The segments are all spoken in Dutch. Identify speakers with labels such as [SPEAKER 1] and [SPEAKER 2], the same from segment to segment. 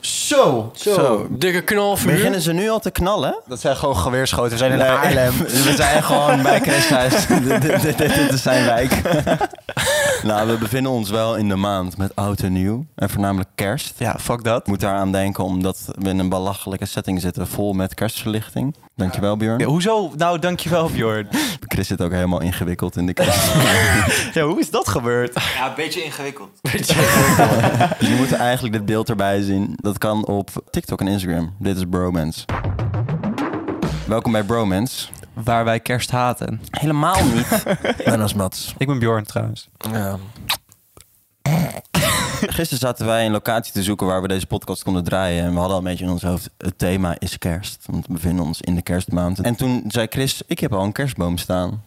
[SPEAKER 1] Zo.
[SPEAKER 2] Zo.
[SPEAKER 3] Dikke knalvuur.
[SPEAKER 1] Beginnen ze nu al te knallen?
[SPEAKER 4] Dat zijn gewoon geweerschoten. We zijn in
[SPEAKER 1] Nee,
[SPEAKER 4] Haarlem.
[SPEAKER 1] We zijn gewoon bij Christhuis. dit, dit, dit- dit is zijn wijk. nou, we bevinden ons wel in de maand met oud en nieuw. En voornamelijk kerst.
[SPEAKER 4] Ja, fuck dat.
[SPEAKER 1] Ik moet daaraan denken omdat we in een belachelijke setting zitten. Vol met kerstverlichting. Dankjewel Björn.
[SPEAKER 4] Ja, hoezo? Nou, dankjewel Bjorn.
[SPEAKER 1] Chris zit ook helemaal ingewikkeld in de kerst.
[SPEAKER 4] Ja, hoe is dat gebeurd?
[SPEAKER 2] Ja, een beetje ingewikkeld.
[SPEAKER 1] Jullie Dus moeten eigenlijk dit beeld erbij zien. Dat kan op TikTok en Instagram. Dit is Bromance. Welkom bij Bromance.
[SPEAKER 4] Waar wij kerst haten.
[SPEAKER 1] Helemaal niet. ben als Mats.
[SPEAKER 4] Ik ben Bjorn trouwens.
[SPEAKER 1] Ja. Gisteren zaten wij een locatie te zoeken waar we deze podcast konden draaien. En we hadden al een beetje in ons hoofd, het thema is kerst. Want we bevinden ons in de kerstmaand. En toen zei Chris, ik heb al een kerstboom staan.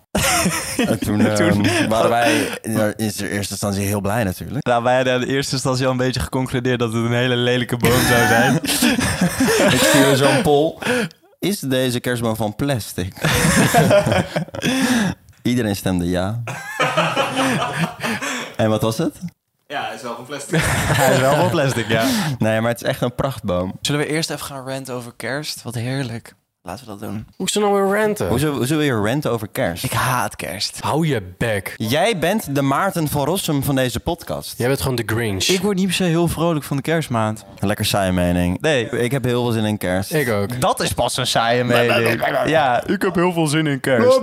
[SPEAKER 1] en toen, ehm, waren wij in eerste instantie heel blij natuurlijk.
[SPEAKER 4] Nou, wij hadden in de eerste instantie al een beetje geconcludeerd dat het een hele lelijke boom zou zijn.
[SPEAKER 1] Ik stuur zo'n poll. Is deze kerstboom van plastic? Iedereen stemde ja. en wat was het?
[SPEAKER 2] Ja, is wel van plastic.
[SPEAKER 4] Hij is wel van plastic, ja.
[SPEAKER 1] Nee, maar het is echt een prachtboom.
[SPEAKER 2] Zullen we eerst even gaan ranten over kerst? Wat heerlijk. Laten we dat doen.
[SPEAKER 3] Hoezo nou weer ranten?
[SPEAKER 1] Hoezo, hoezo wil je rant over kerst?
[SPEAKER 2] Ik haat kerst.
[SPEAKER 3] Hou je bek.
[SPEAKER 1] Jij bent de Maarten van Rossum van deze podcast.
[SPEAKER 3] Jij bent gewoon de Grinch.
[SPEAKER 4] Ik word niet per se heel vrolijk van de kerstmaand.
[SPEAKER 1] Lekker saaie mening.
[SPEAKER 4] Nee.
[SPEAKER 1] Ik heb heel veel zin in kerst.
[SPEAKER 3] Ik ook.
[SPEAKER 4] Dat is pas een saaie mening. Ja, ik heb heel veel zin in kerst.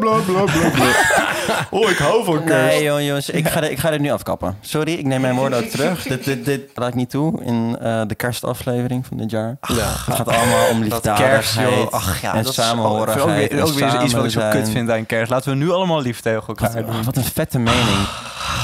[SPEAKER 4] Oh, ik hou van
[SPEAKER 1] Nee, joh, jongens, ik ga, dit- ik ga dit nu afkappen. Sorry, ik neem mijn woorden ook terug. Dit, dit, dit raakt niet toe in eh, de kerstaflevering van dit jaar. het gaat allemaal om
[SPEAKER 4] kerst,
[SPEAKER 1] liefdadigheid
[SPEAKER 4] joh. Ach ja,
[SPEAKER 1] en
[SPEAKER 4] dat is ook
[SPEAKER 1] samenhorigheid.
[SPEAKER 4] weer, ook weer
[SPEAKER 1] en
[SPEAKER 4] iets wat
[SPEAKER 1] samen
[SPEAKER 4] ik zo
[SPEAKER 1] zijn.
[SPEAKER 4] kut vind aan kerst. Laten we nu allemaal lief tegen elkaar doen. Ah.
[SPEAKER 1] Ah, wat een vette mening.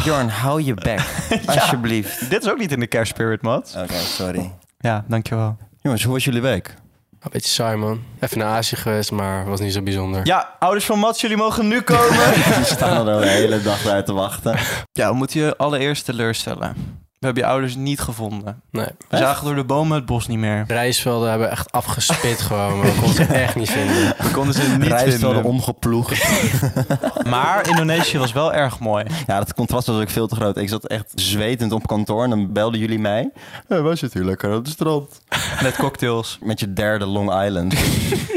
[SPEAKER 1] Jorn, hou je bek. Alsjeblieft.
[SPEAKER 4] Dit is ook niet in de kerstspirit, Mats.
[SPEAKER 1] Oké, sorry.
[SPEAKER 4] Ja, dankjewel.
[SPEAKER 1] Jongens, hoe was jullie week?
[SPEAKER 3] Een beetje saai, man. Even naar Azië geweest, maar was niet zo bijzonder.
[SPEAKER 4] Ja, ouders van Mats, jullie mogen nu komen.
[SPEAKER 1] We staan er al de hele dag bij te wachten.
[SPEAKER 4] ja, we moeten je allereerst teleurstellen. We hebben je ouders niet gevonden.
[SPEAKER 3] Nee.
[SPEAKER 4] We zagen door de bomen het bos niet meer.
[SPEAKER 3] Rijsvelden hebben echt afgespit gewoon, maar we konden ze echt niet vinden.
[SPEAKER 4] We konden ze niet
[SPEAKER 1] Rijstvelden
[SPEAKER 4] vinden.
[SPEAKER 1] omgeploegd.
[SPEAKER 4] Maar Indonesië was wel erg mooi.
[SPEAKER 1] Ja, dat contrast was ook veel te groot. Ik zat echt zwetend op kantoor en dan belden jullie mij. Hey, wij zitten hier lekker aan het strand.
[SPEAKER 4] Met cocktails.
[SPEAKER 1] Met je derde Long Island.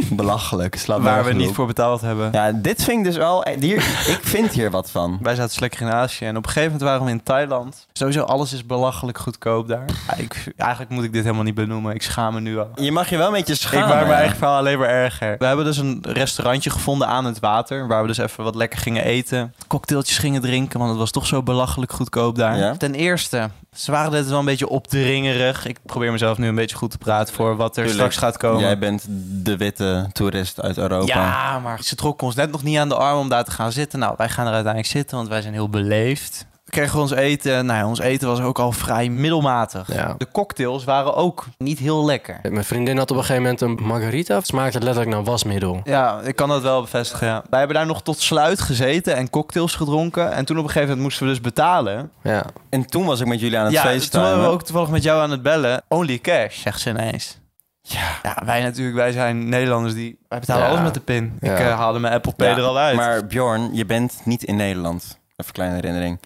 [SPEAKER 1] Belachelijk. Slaat
[SPEAKER 4] Waar we
[SPEAKER 1] nergens
[SPEAKER 4] niet
[SPEAKER 1] op.
[SPEAKER 4] voor betaald hebben.
[SPEAKER 1] Ja, dit vind ik dus wel... Hier, ik vind hier wat van.
[SPEAKER 4] Wij zaten slekker in Azië en op een gegeven moment waren we in Thailand. Sowieso, alles is belachelijk goedkoop daar. Ja, ik, eigenlijk moet ik dit helemaal niet benoemen. Ik schaam me nu al.
[SPEAKER 1] Je mag je wel een beetje schamen.
[SPEAKER 4] ik maak mijn eigen verhaal alleen maar erger. We hebben dus een restaurantje gevonden aan het water. Waar we dus even wat lekker gingen eten. Cocktailtjes gingen drinken, want het was toch zo belachelijk goedkoop daar.
[SPEAKER 1] Ja.
[SPEAKER 4] Ten eerste, ze waren dit wel een beetje opdringerig. Ik probeer mezelf nu een beetje goed te praten voor wat er
[SPEAKER 1] Tuurlijk.
[SPEAKER 4] straks gaat komen.
[SPEAKER 1] Jij bent de witte toerist uit Europa.
[SPEAKER 4] Ja, maar ze trokken ons net nog niet aan de arm om daar te gaan zitten. Nou, wij gaan er uiteindelijk zitten, want wij zijn heel beleefd. We kregen ons eten. Nou ja, ons eten was ook al vrij middelmatig.
[SPEAKER 3] Ja.
[SPEAKER 4] De cocktails waren ook niet heel lekker.
[SPEAKER 3] Mijn vriendin had op een gegeven moment een margarita. Het smaakte letterlijk naar wasmiddel.
[SPEAKER 4] Ja, ik kan dat wel bevestigen. Ja. Wij hebben daar nog tot sluit gezeten en cocktails gedronken. En toen op een gegeven moment moesten we dus betalen.
[SPEAKER 3] Ja.
[SPEAKER 1] En toen was ik met jullie aan het
[SPEAKER 4] ja,
[SPEAKER 1] feesten.
[SPEAKER 4] toen waren we ook toevallig met jou aan het bellen. Only cash, zegt ze ineens.
[SPEAKER 1] Ja.
[SPEAKER 4] wij natuurlijk, wij zijn Nederlanders die... Wij betalen
[SPEAKER 3] Ja.
[SPEAKER 4] alles met de pin.
[SPEAKER 3] Ja.
[SPEAKER 4] Ik eh, haalde mijn Apple Pay
[SPEAKER 1] Ja,
[SPEAKER 4] er al uit.
[SPEAKER 1] Maar Bjorn, je bent niet in Nederland. Even een kleine herinnering.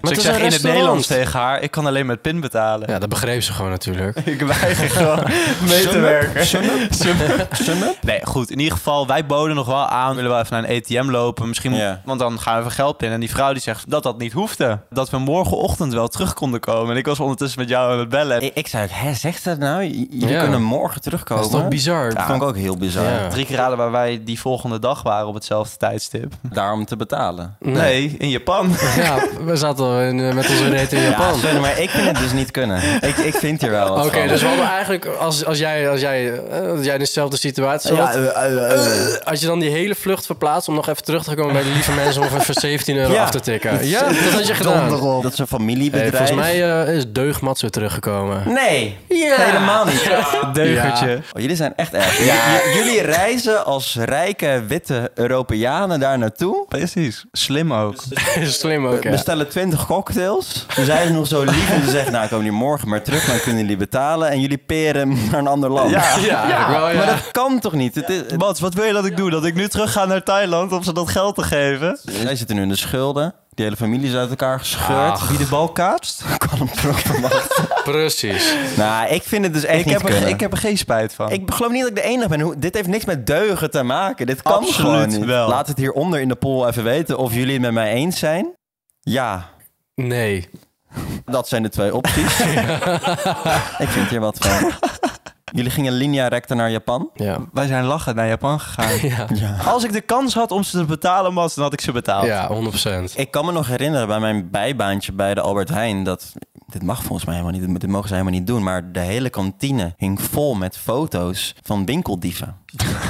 [SPEAKER 4] dus ik
[SPEAKER 3] is
[SPEAKER 4] zeg
[SPEAKER 3] een
[SPEAKER 4] in het
[SPEAKER 3] restaurant.
[SPEAKER 4] Nederlands tegen haar, ik kan alleen met pin betalen.
[SPEAKER 3] ja, dat begreep ze gewoon natuurlijk.
[SPEAKER 4] Ik weiger gewoon mee te
[SPEAKER 1] Sum up,
[SPEAKER 4] werken.
[SPEAKER 1] sum up, sum up.
[SPEAKER 4] Nee, goed. In ieder geval, wij boden nog wel aan. Willen we even naar een ATM lopen? Misschien,
[SPEAKER 1] Ja.
[SPEAKER 4] want dan gaan we even geld pinnen. En die vrouw die zegt dat dat niet hoefde. Dat we morgenochtend wel terug konden komen. En ik was ondertussen met jou aan het bellen.
[SPEAKER 1] Ik, ik zei, ook, hè, zegt dat nou? J- Jullie
[SPEAKER 3] Ja.
[SPEAKER 1] kunnen morgen terugkomen.
[SPEAKER 3] Dat is toch bizar?
[SPEAKER 1] Dat vond ik ook heel bizar.
[SPEAKER 3] Ja.
[SPEAKER 4] Drie keer raden waar wij die volgende dag waren op hetzelfde tijdstip.
[SPEAKER 1] Daarom te betalen.
[SPEAKER 4] Nee, in Japan.
[SPEAKER 3] Ja, we zaten al in, eh, met onze reet in
[SPEAKER 1] Ja,
[SPEAKER 3] Japan.
[SPEAKER 1] sorry, maar ik vind het dus niet kunnen. Ik, ik vind hier wel wat
[SPEAKER 3] Oké,
[SPEAKER 1] van.
[SPEAKER 3] dus we hadden eigenlijk, als, als, jij, als, jij, eh, als jij in dezelfde situatie zat, had Eh, je dan die hele vlucht verplaatst om nog even terug te komen bij de lieve mensen om even 17 euro
[SPEAKER 1] Ja.
[SPEAKER 3] af te tikken. Ja, dat had je gedaan.
[SPEAKER 1] Donder op. Dat is een
[SPEAKER 3] Hey,
[SPEAKER 1] familiebedrijf.
[SPEAKER 3] volgens mij eh, is Deugmat weer teruggekomen.
[SPEAKER 1] Nee, helemaal niet.
[SPEAKER 4] Deugertje.
[SPEAKER 3] Ja.
[SPEAKER 1] Oh, jullie zijn echt erg. J- j- jullie reizen als rijke, witte Europeanen daar naartoe.
[SPEAKER 4] Precies. Slim ook.
[SPEAKER 3] dus- Slim ook, hè?
[SPEAKER 1] Bestellen 20 cocktails. Dan zijn ze nog zo lief om te zeggen... nou, komen jullie morgen maar terug, dan kunnen jullie betalen... en jullie peren naar een ander land.
[SPEAKER 4] Ja.
[SPEAKER 3] Ja, eigenlijk wel, ja.
[SPEAKER 1] Maar dat kan toch niet? Het is, het-
[SPEAKER 4] Mats, wat wil je dat ik doe? Dat ik nu terug ga naar Thailand om ze dat geld te geven?
[SPEAKER 1] Zij zitten nu in de schulden. Die hele familie is uit elkaar gescheurd.
[SPEAKER 4] Wie de bal kaatst?
[SPEAKER 1] Ik kan hem terug verwachten.
[SPEAKER 3] Precies.
[SPEAKER 1] Nou, ik vind het dus echt
[SPEAKER 4] Ik
[SPEAKER 1] niet
[SPEAKER 4] heb, er,
[SPEAKER 1] kunnen.
[SPEAKER 4] ik heb er geen spijt van.
[SPEAKER 1] Ik geloof niet dat ik de enige ben. Hoe- Dit heeft niks met deugen te maken. Dit kan
[SPEAKER 4] Absoluut
[SPEAKER 1] gewoon niet.
[SPEAKER 4] wel.
[SPEAKER 1] Laat het hieronder in de poll even weten of jullie het met mij eens zijn. Ja,
[SPEAKER 3] Nee.
[SPEAKER 1] dat zijn de twee opties. ik vind hier wat van. Jullie gingen linea recta naar Japan.
[SPEAKER 3] Ja.
[SPEAKER 4] Wij zijn lachen naar Japan gegaan.
[SPEAKER 3] Ja,
[SPEAKER 1] Ja.
[SPEAKER 4] Als ik de kans had om ze te betalen, Mas, dan had ik ze betaald.
[SPEAKER 3] ja 100%.
[SPEAKER 1] Ik kan me nog herinneren bij mijn bijbaantje bij de Albert Heijn dat dit mag volgens mij helemaal niet, dit mogen ze helemaal niet doen, maar de hele kantine hing vol met foto's van winkeldieven.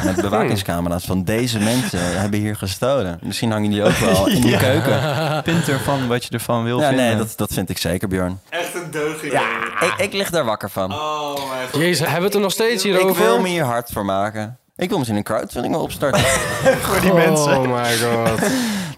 [SPEAKER 1] Met bewakingscamera's van deze mensen hebben hier gestolen. Misschien hangen jullie ook wel in die keuken.
[SPEAKER 4] Pint ervan wat je ervan wil
[SPEAKER 1] Ja,
[SPEAKER 4] vinden.
[SPEAKER 1] nee, dat, dat vind ik zeker, Bjorn.
[SPEAKER 5] Echt een deugje.
[SPEAKER 1] Ik, ik lig daar wakker van.
[SPEAKER 5] Oh, mijn god.
[SPEAKER 3] Jezus, hebben we het er nog steeds hierover?
[SPEAKER 1] Ik wil me hier hard voor maken. Ik wil misschien een crowdfunding wel opstarten.
[SPEAKER 4] voor die
[SPEAKER 3] Oh my god.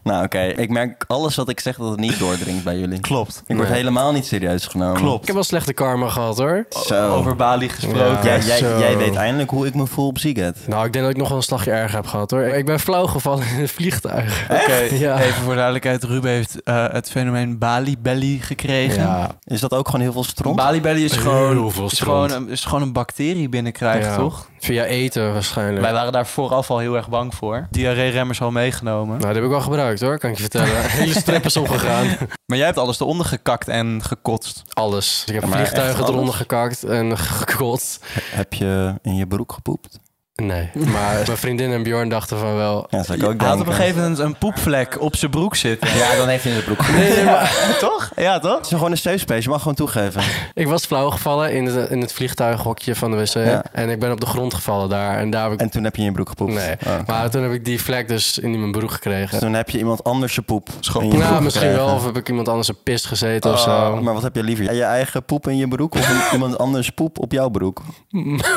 [SPEAKER 1] nou, oké. Ik merk alles wat ik zeg dat het niet doordringt bij jullie.
[SPEAKER 4] Klopt.
[SPEAKER 1] Ik word
[SPEAKER 3] Nee.
[SPEAKER 1] helemaal niet serieus genomen.
[SPEAKER 3] Ik
[SPEAKER 4] Klopt.
[SPEAKER 3] heb wel slechte karma gehad hoor.
[SPEAKER 1] Zo.
[SPEAKER 4] Over Bali gesproken.
[SPEAKER 1] Jij,
[SPEAKER 3] Ja,
[SPEAKER 1] jij,
[SPEAKER 3] zo.
[SPEAKER 1] jij weet eindelijk hoe ik me voel op Ziget.
[SPEAKER 3] Nou, ik denk dat ik nog wel een slagje erger heb gehad hoor. Ik ben flauw gevallen in het vliegtuig.
[SPEAKER 4] Oké,
[SPEAKER 3] Ja.
[SPEAKER 4] even voor duidelijkheid. Ruben heeft eh, het fenomeen Bali Belly gekregen.
[SPEAKER 3] Ja,
[SPEAKER 1] Is dat ook gewoon heel veel stront?
[SPEAKER 4] Bali Belly is
[SPEAKER 3] Heel
[SPEAKER 4] gewoon,
[SPEAKER 3] veel
[SPEAKER 4] is,
[SPEAKER 3] stront.
[SPEAKER 4] gewoon een, is gewoon een bacterie binnenkrijgen,
[SPEAKER 3] Ja.
[SPEAKER 4] toch?
[SPEAKER 3] via eten waarschijnlijk.
[SPEAKER 4] Wij waren daar vooraf al heel erg bang voor. Diarree-remmers al meegenomen.
[SPEAKER 3] Nou, die heb ik wel gebruikt hoor, kan ik je vertellen. Hele strip is omgegaan.
[SPEAKER 4] Maar jij hebt alles eronder gekakt en gekotst.
[SPEAKER 3] Alles. Ik heb
[SPEAKER 1] Ja, maar echt
[SPEAKER 3] vliegtuigen
[SPEAKER 1] alles?
[SPEAKER 3] eronder gekakt en gekot.
[SPEAKER 1] Heb je in je broek gepoept?
[SPEAKER 3] Nee, maar mijn vriendin en Bjorn dachten van wel...
[SPEAKER 1] Ja, zou ik
[SPEAKER 4] Hij
[SPEAKER 1] ook
[SPEAKER 4] had
[SPEAKER 1] denken.
[SPEAKER 4] op een gegeven moment een poepvlek op zijn broek zitten.
[SPEAKER 1] Ja, dan heeft hij in zijn broek gepoept.
[SPEAKER 3] Nee, nee, maar
[SPEAKER 4] toch? Ja, toch?
[SPEAKER 1] Het is gewoon een safe space, je mag gewoon toegeven.
[SPEAKER 3] ik was flauw gevallen in het, in het vliegtuighokje van de wc.
[SPEAKER 1] Ja.
[SPEAKER 3] En ik ben op de grond gevallen daar. En daar heb ik...
[SPEAKER 1] En toen heb je in je broek gepoept.
[SPEAKER 3] nee.
[SPEAKER 1] Oh, oké.
[SPEAKER 3] Maar toen heb ik die vlek dus in mijn broek
[SPEAKER 1] Dus
[SPEAKER 3] gekregen.
[SPEAKER 1] toen heb je iemand anders je poep
[SPEAKER 4] Schoon-
[SPEAKER 1] in je
[SPEAKER 3] Nou,
[SPEAKER 1] broek
[SPEAKER 3] misschien wel.
[SPEAKER 1] gekregen.
[SPEAKER 3] Of heb ik iemand anders een pist gezeten of
[SPEAKER 1] Oh,
[SPEAKER 3] zo.
[SPEAKER 1] Maar wat heb je liever? Je eigen poep in je broek of een- iemand anders poep op jouw broek?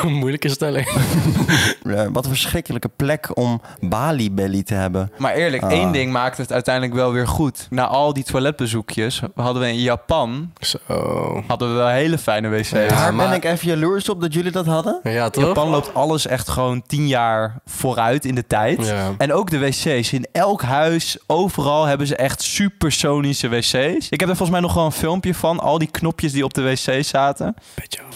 [SPEAKER 3] Moeilijke stelling.
[SPEAKER 1] Ja, wat een verschrikkelijke plek om Bali belly te hebben.
[SPEAKER 4] Maar eerlijk,
[SPEAKER 1] Ah.
[SPEAKER 4] één ding maakt het uiteindelijk wel weer goed. Na al die toiletbezoekjes hadden we in Japan
[SPEAKER 3] Zo.
[SPEAKER 4] hadden we wel hele fijne wc's.
[SPEAKER 3] Ja,
[SPEAKER 1] Daar
[SPEAKER 3] maar-
[SPEAKER 1] ben ik even jaloers op dat jullie dat hadden.
[SPEAKER 3] Ja, toch?
[SPEAKER 4] Japan loopt alles echt gewoon tien jaar vooruit in de tijd.
[SPEAKER 3] Ja.
[SPEAKER 4] En ook de wc's. In elk huis, overal hebben ze echt supersonische wc's. Ik heb er volgens mij nog wel een filmpje van. Al die knopjes die op de wc zaten.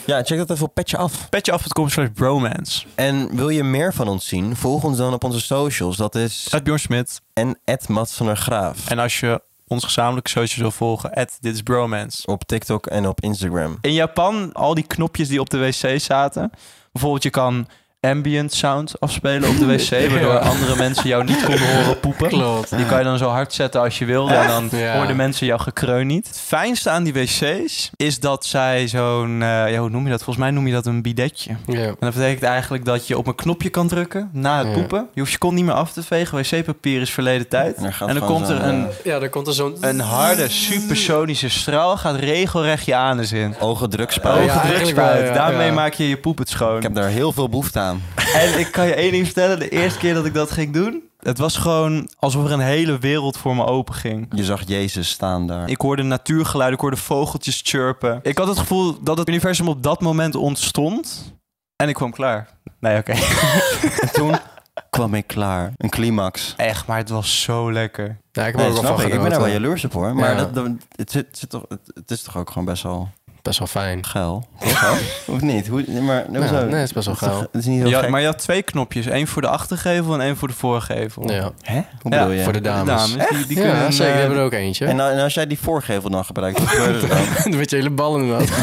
[SPEAKER 1] Ja, check dat even op Petje Af.
[SPEAKER 4] Petje af, het komt slash bromance.
[SPEAKER 1] En wil je meer van ons zien? Volg ons dan op onze socials. Dat is
[SPEAKER 4] Uit Bjorn Smit.
[SPEAKER 1] en Mats van der Graaf.
[SPEAKER 4] En als je ons gezamenlijke socials wil volgen, dit is bromance.
[SPEAKER 1] Op TikTok en op Instagram.
[SPEAKER 4] In Japan, al die knopjes die op de wc zaten. Bijvoorbeeld, je kan ambient sound afspelen op de wc, waardoor andere mensen jou niet konden horen poepen.
[SPEAKER 3] Klopt.
[SPEAKER 4] Die kan je dan zo hard zetten als je wilde. En dan
[SPEAKER 3] Ja.
[SPEAKER 4] hoorden mensen jouw gekreun niet. Het fijnste aan die wc's is dat zij zo'n... eh, ja, hoe noem je dat? Volgens mij noem je dat een bidetje.
[SPEAKER 3] Ja.
[SPEAKER 4] En dat betekent eigenlijk dat je op een knopje kan drukken na het
[SPEAKER 3] Ja.
[SPEAKER 4] poepen. Je hoeft je kont niet meer af te vegen. Wc-papier is verleden tijd.
[SPEAKER 1] En er gaat
[SPEAKER 4] En dan
[SPEAKER 1] gewoon
[SPEAKER 4] komt
[SPEAKER 1] zo'n,
[SPEAKER 4] er een,
[SPEAKER 1] eh,
[SPEAKER 3] ja, dan komt er zo'n...
[SPEAKER 4] een harde, supersonische straal. Gaat regelrecht je anus in.
[SPEAKER 1] Ogen druk
[SPEAKER 4] Oh,
[SPEAKER 1] spuit.
[SPEAKER 3] ja, eigenlijk wel, ja.
[SPEAKER 4] Daarmee
[SPEAKER 3] Ja.
[SPEAKER 4] maak je je poep het schoon.
[SPEAKER 1] Ik heb daar heel veel behoefte aan.
[SPEAKER 4] En ik kan je één ding vertellen. De eerste keer dat ik dat ging doen... Het was gewoon alsof er een hele wereld voor me open ging.
[SPEAKER 1] Je zag Jezus staan daar.
[SPEAKER 4] Ik hoorde natuurgeluiden, ik hoorde vogeltjes chirpen. Ik had het gevoel dat het universum op dat moment ontstond. En ik kwam klaar. Nee, oké.
[SPEAKER 1] En toen kwam ik klaar. Een climax.
[SPEAKER 4] Echt, maar het was zo lekker.
[SPEAKER 3] Ja, ik heb
[SPEAKER 1] Nee,
[SPEAKER 3] er ook wel
[SPEAKER 1] snap
[SPEAKER 3] van
[SPEAKER 1] ik. ik ben daar wel
[SPEAKER 3] genoten.
[SPEAKER 1] jaloers op hoor. Maar
[SPEAKER 3] Ja.
[SPEAKER 1] dat, dat- het, zit, zit toch, het, het is toch ook gewoon best wel
[SPEAKER 3] Best wel fijn.
[SPEAKER 1] geil. Toch wel? of niet? Hoe, maar,
[SPEAKER 3] Ja,
[SPEAKER 1] hoezo?
[SPEAKER 3] nee, het is best wel
[SPEAKER 1] Het is toch-
[SPEAKER 3] geil.
[SPEAKER 1] Het is niet heel
[SPEAKER 4] Ja,
[SPEAKER 1] gek.
[SPEAKER 4] maar je had twee knopjes. één voor de achtergevel en één voor de voorgevel.
[SPEAKER 3] Ja.
[SPEAKER 1] Hè? Hoe
[SPEAKER 4] Ja,
[SPEAKER 1] bedoel je?
[SPEAKER 3] voor de dames.
[SPEAKER 4] die, die
[SPEAKER 3] ja,
[SPEAKER 4] kunnen, eh,
[SPEAKER 3] zeker. Ik heb er ook eentje.
[SPEAKER 1] En, nou- en als jij die voorgevel dan gebruikt, wat gebeurt er dan?
[SPEAKER 3] Dan werd je hele ballen in de hand. Je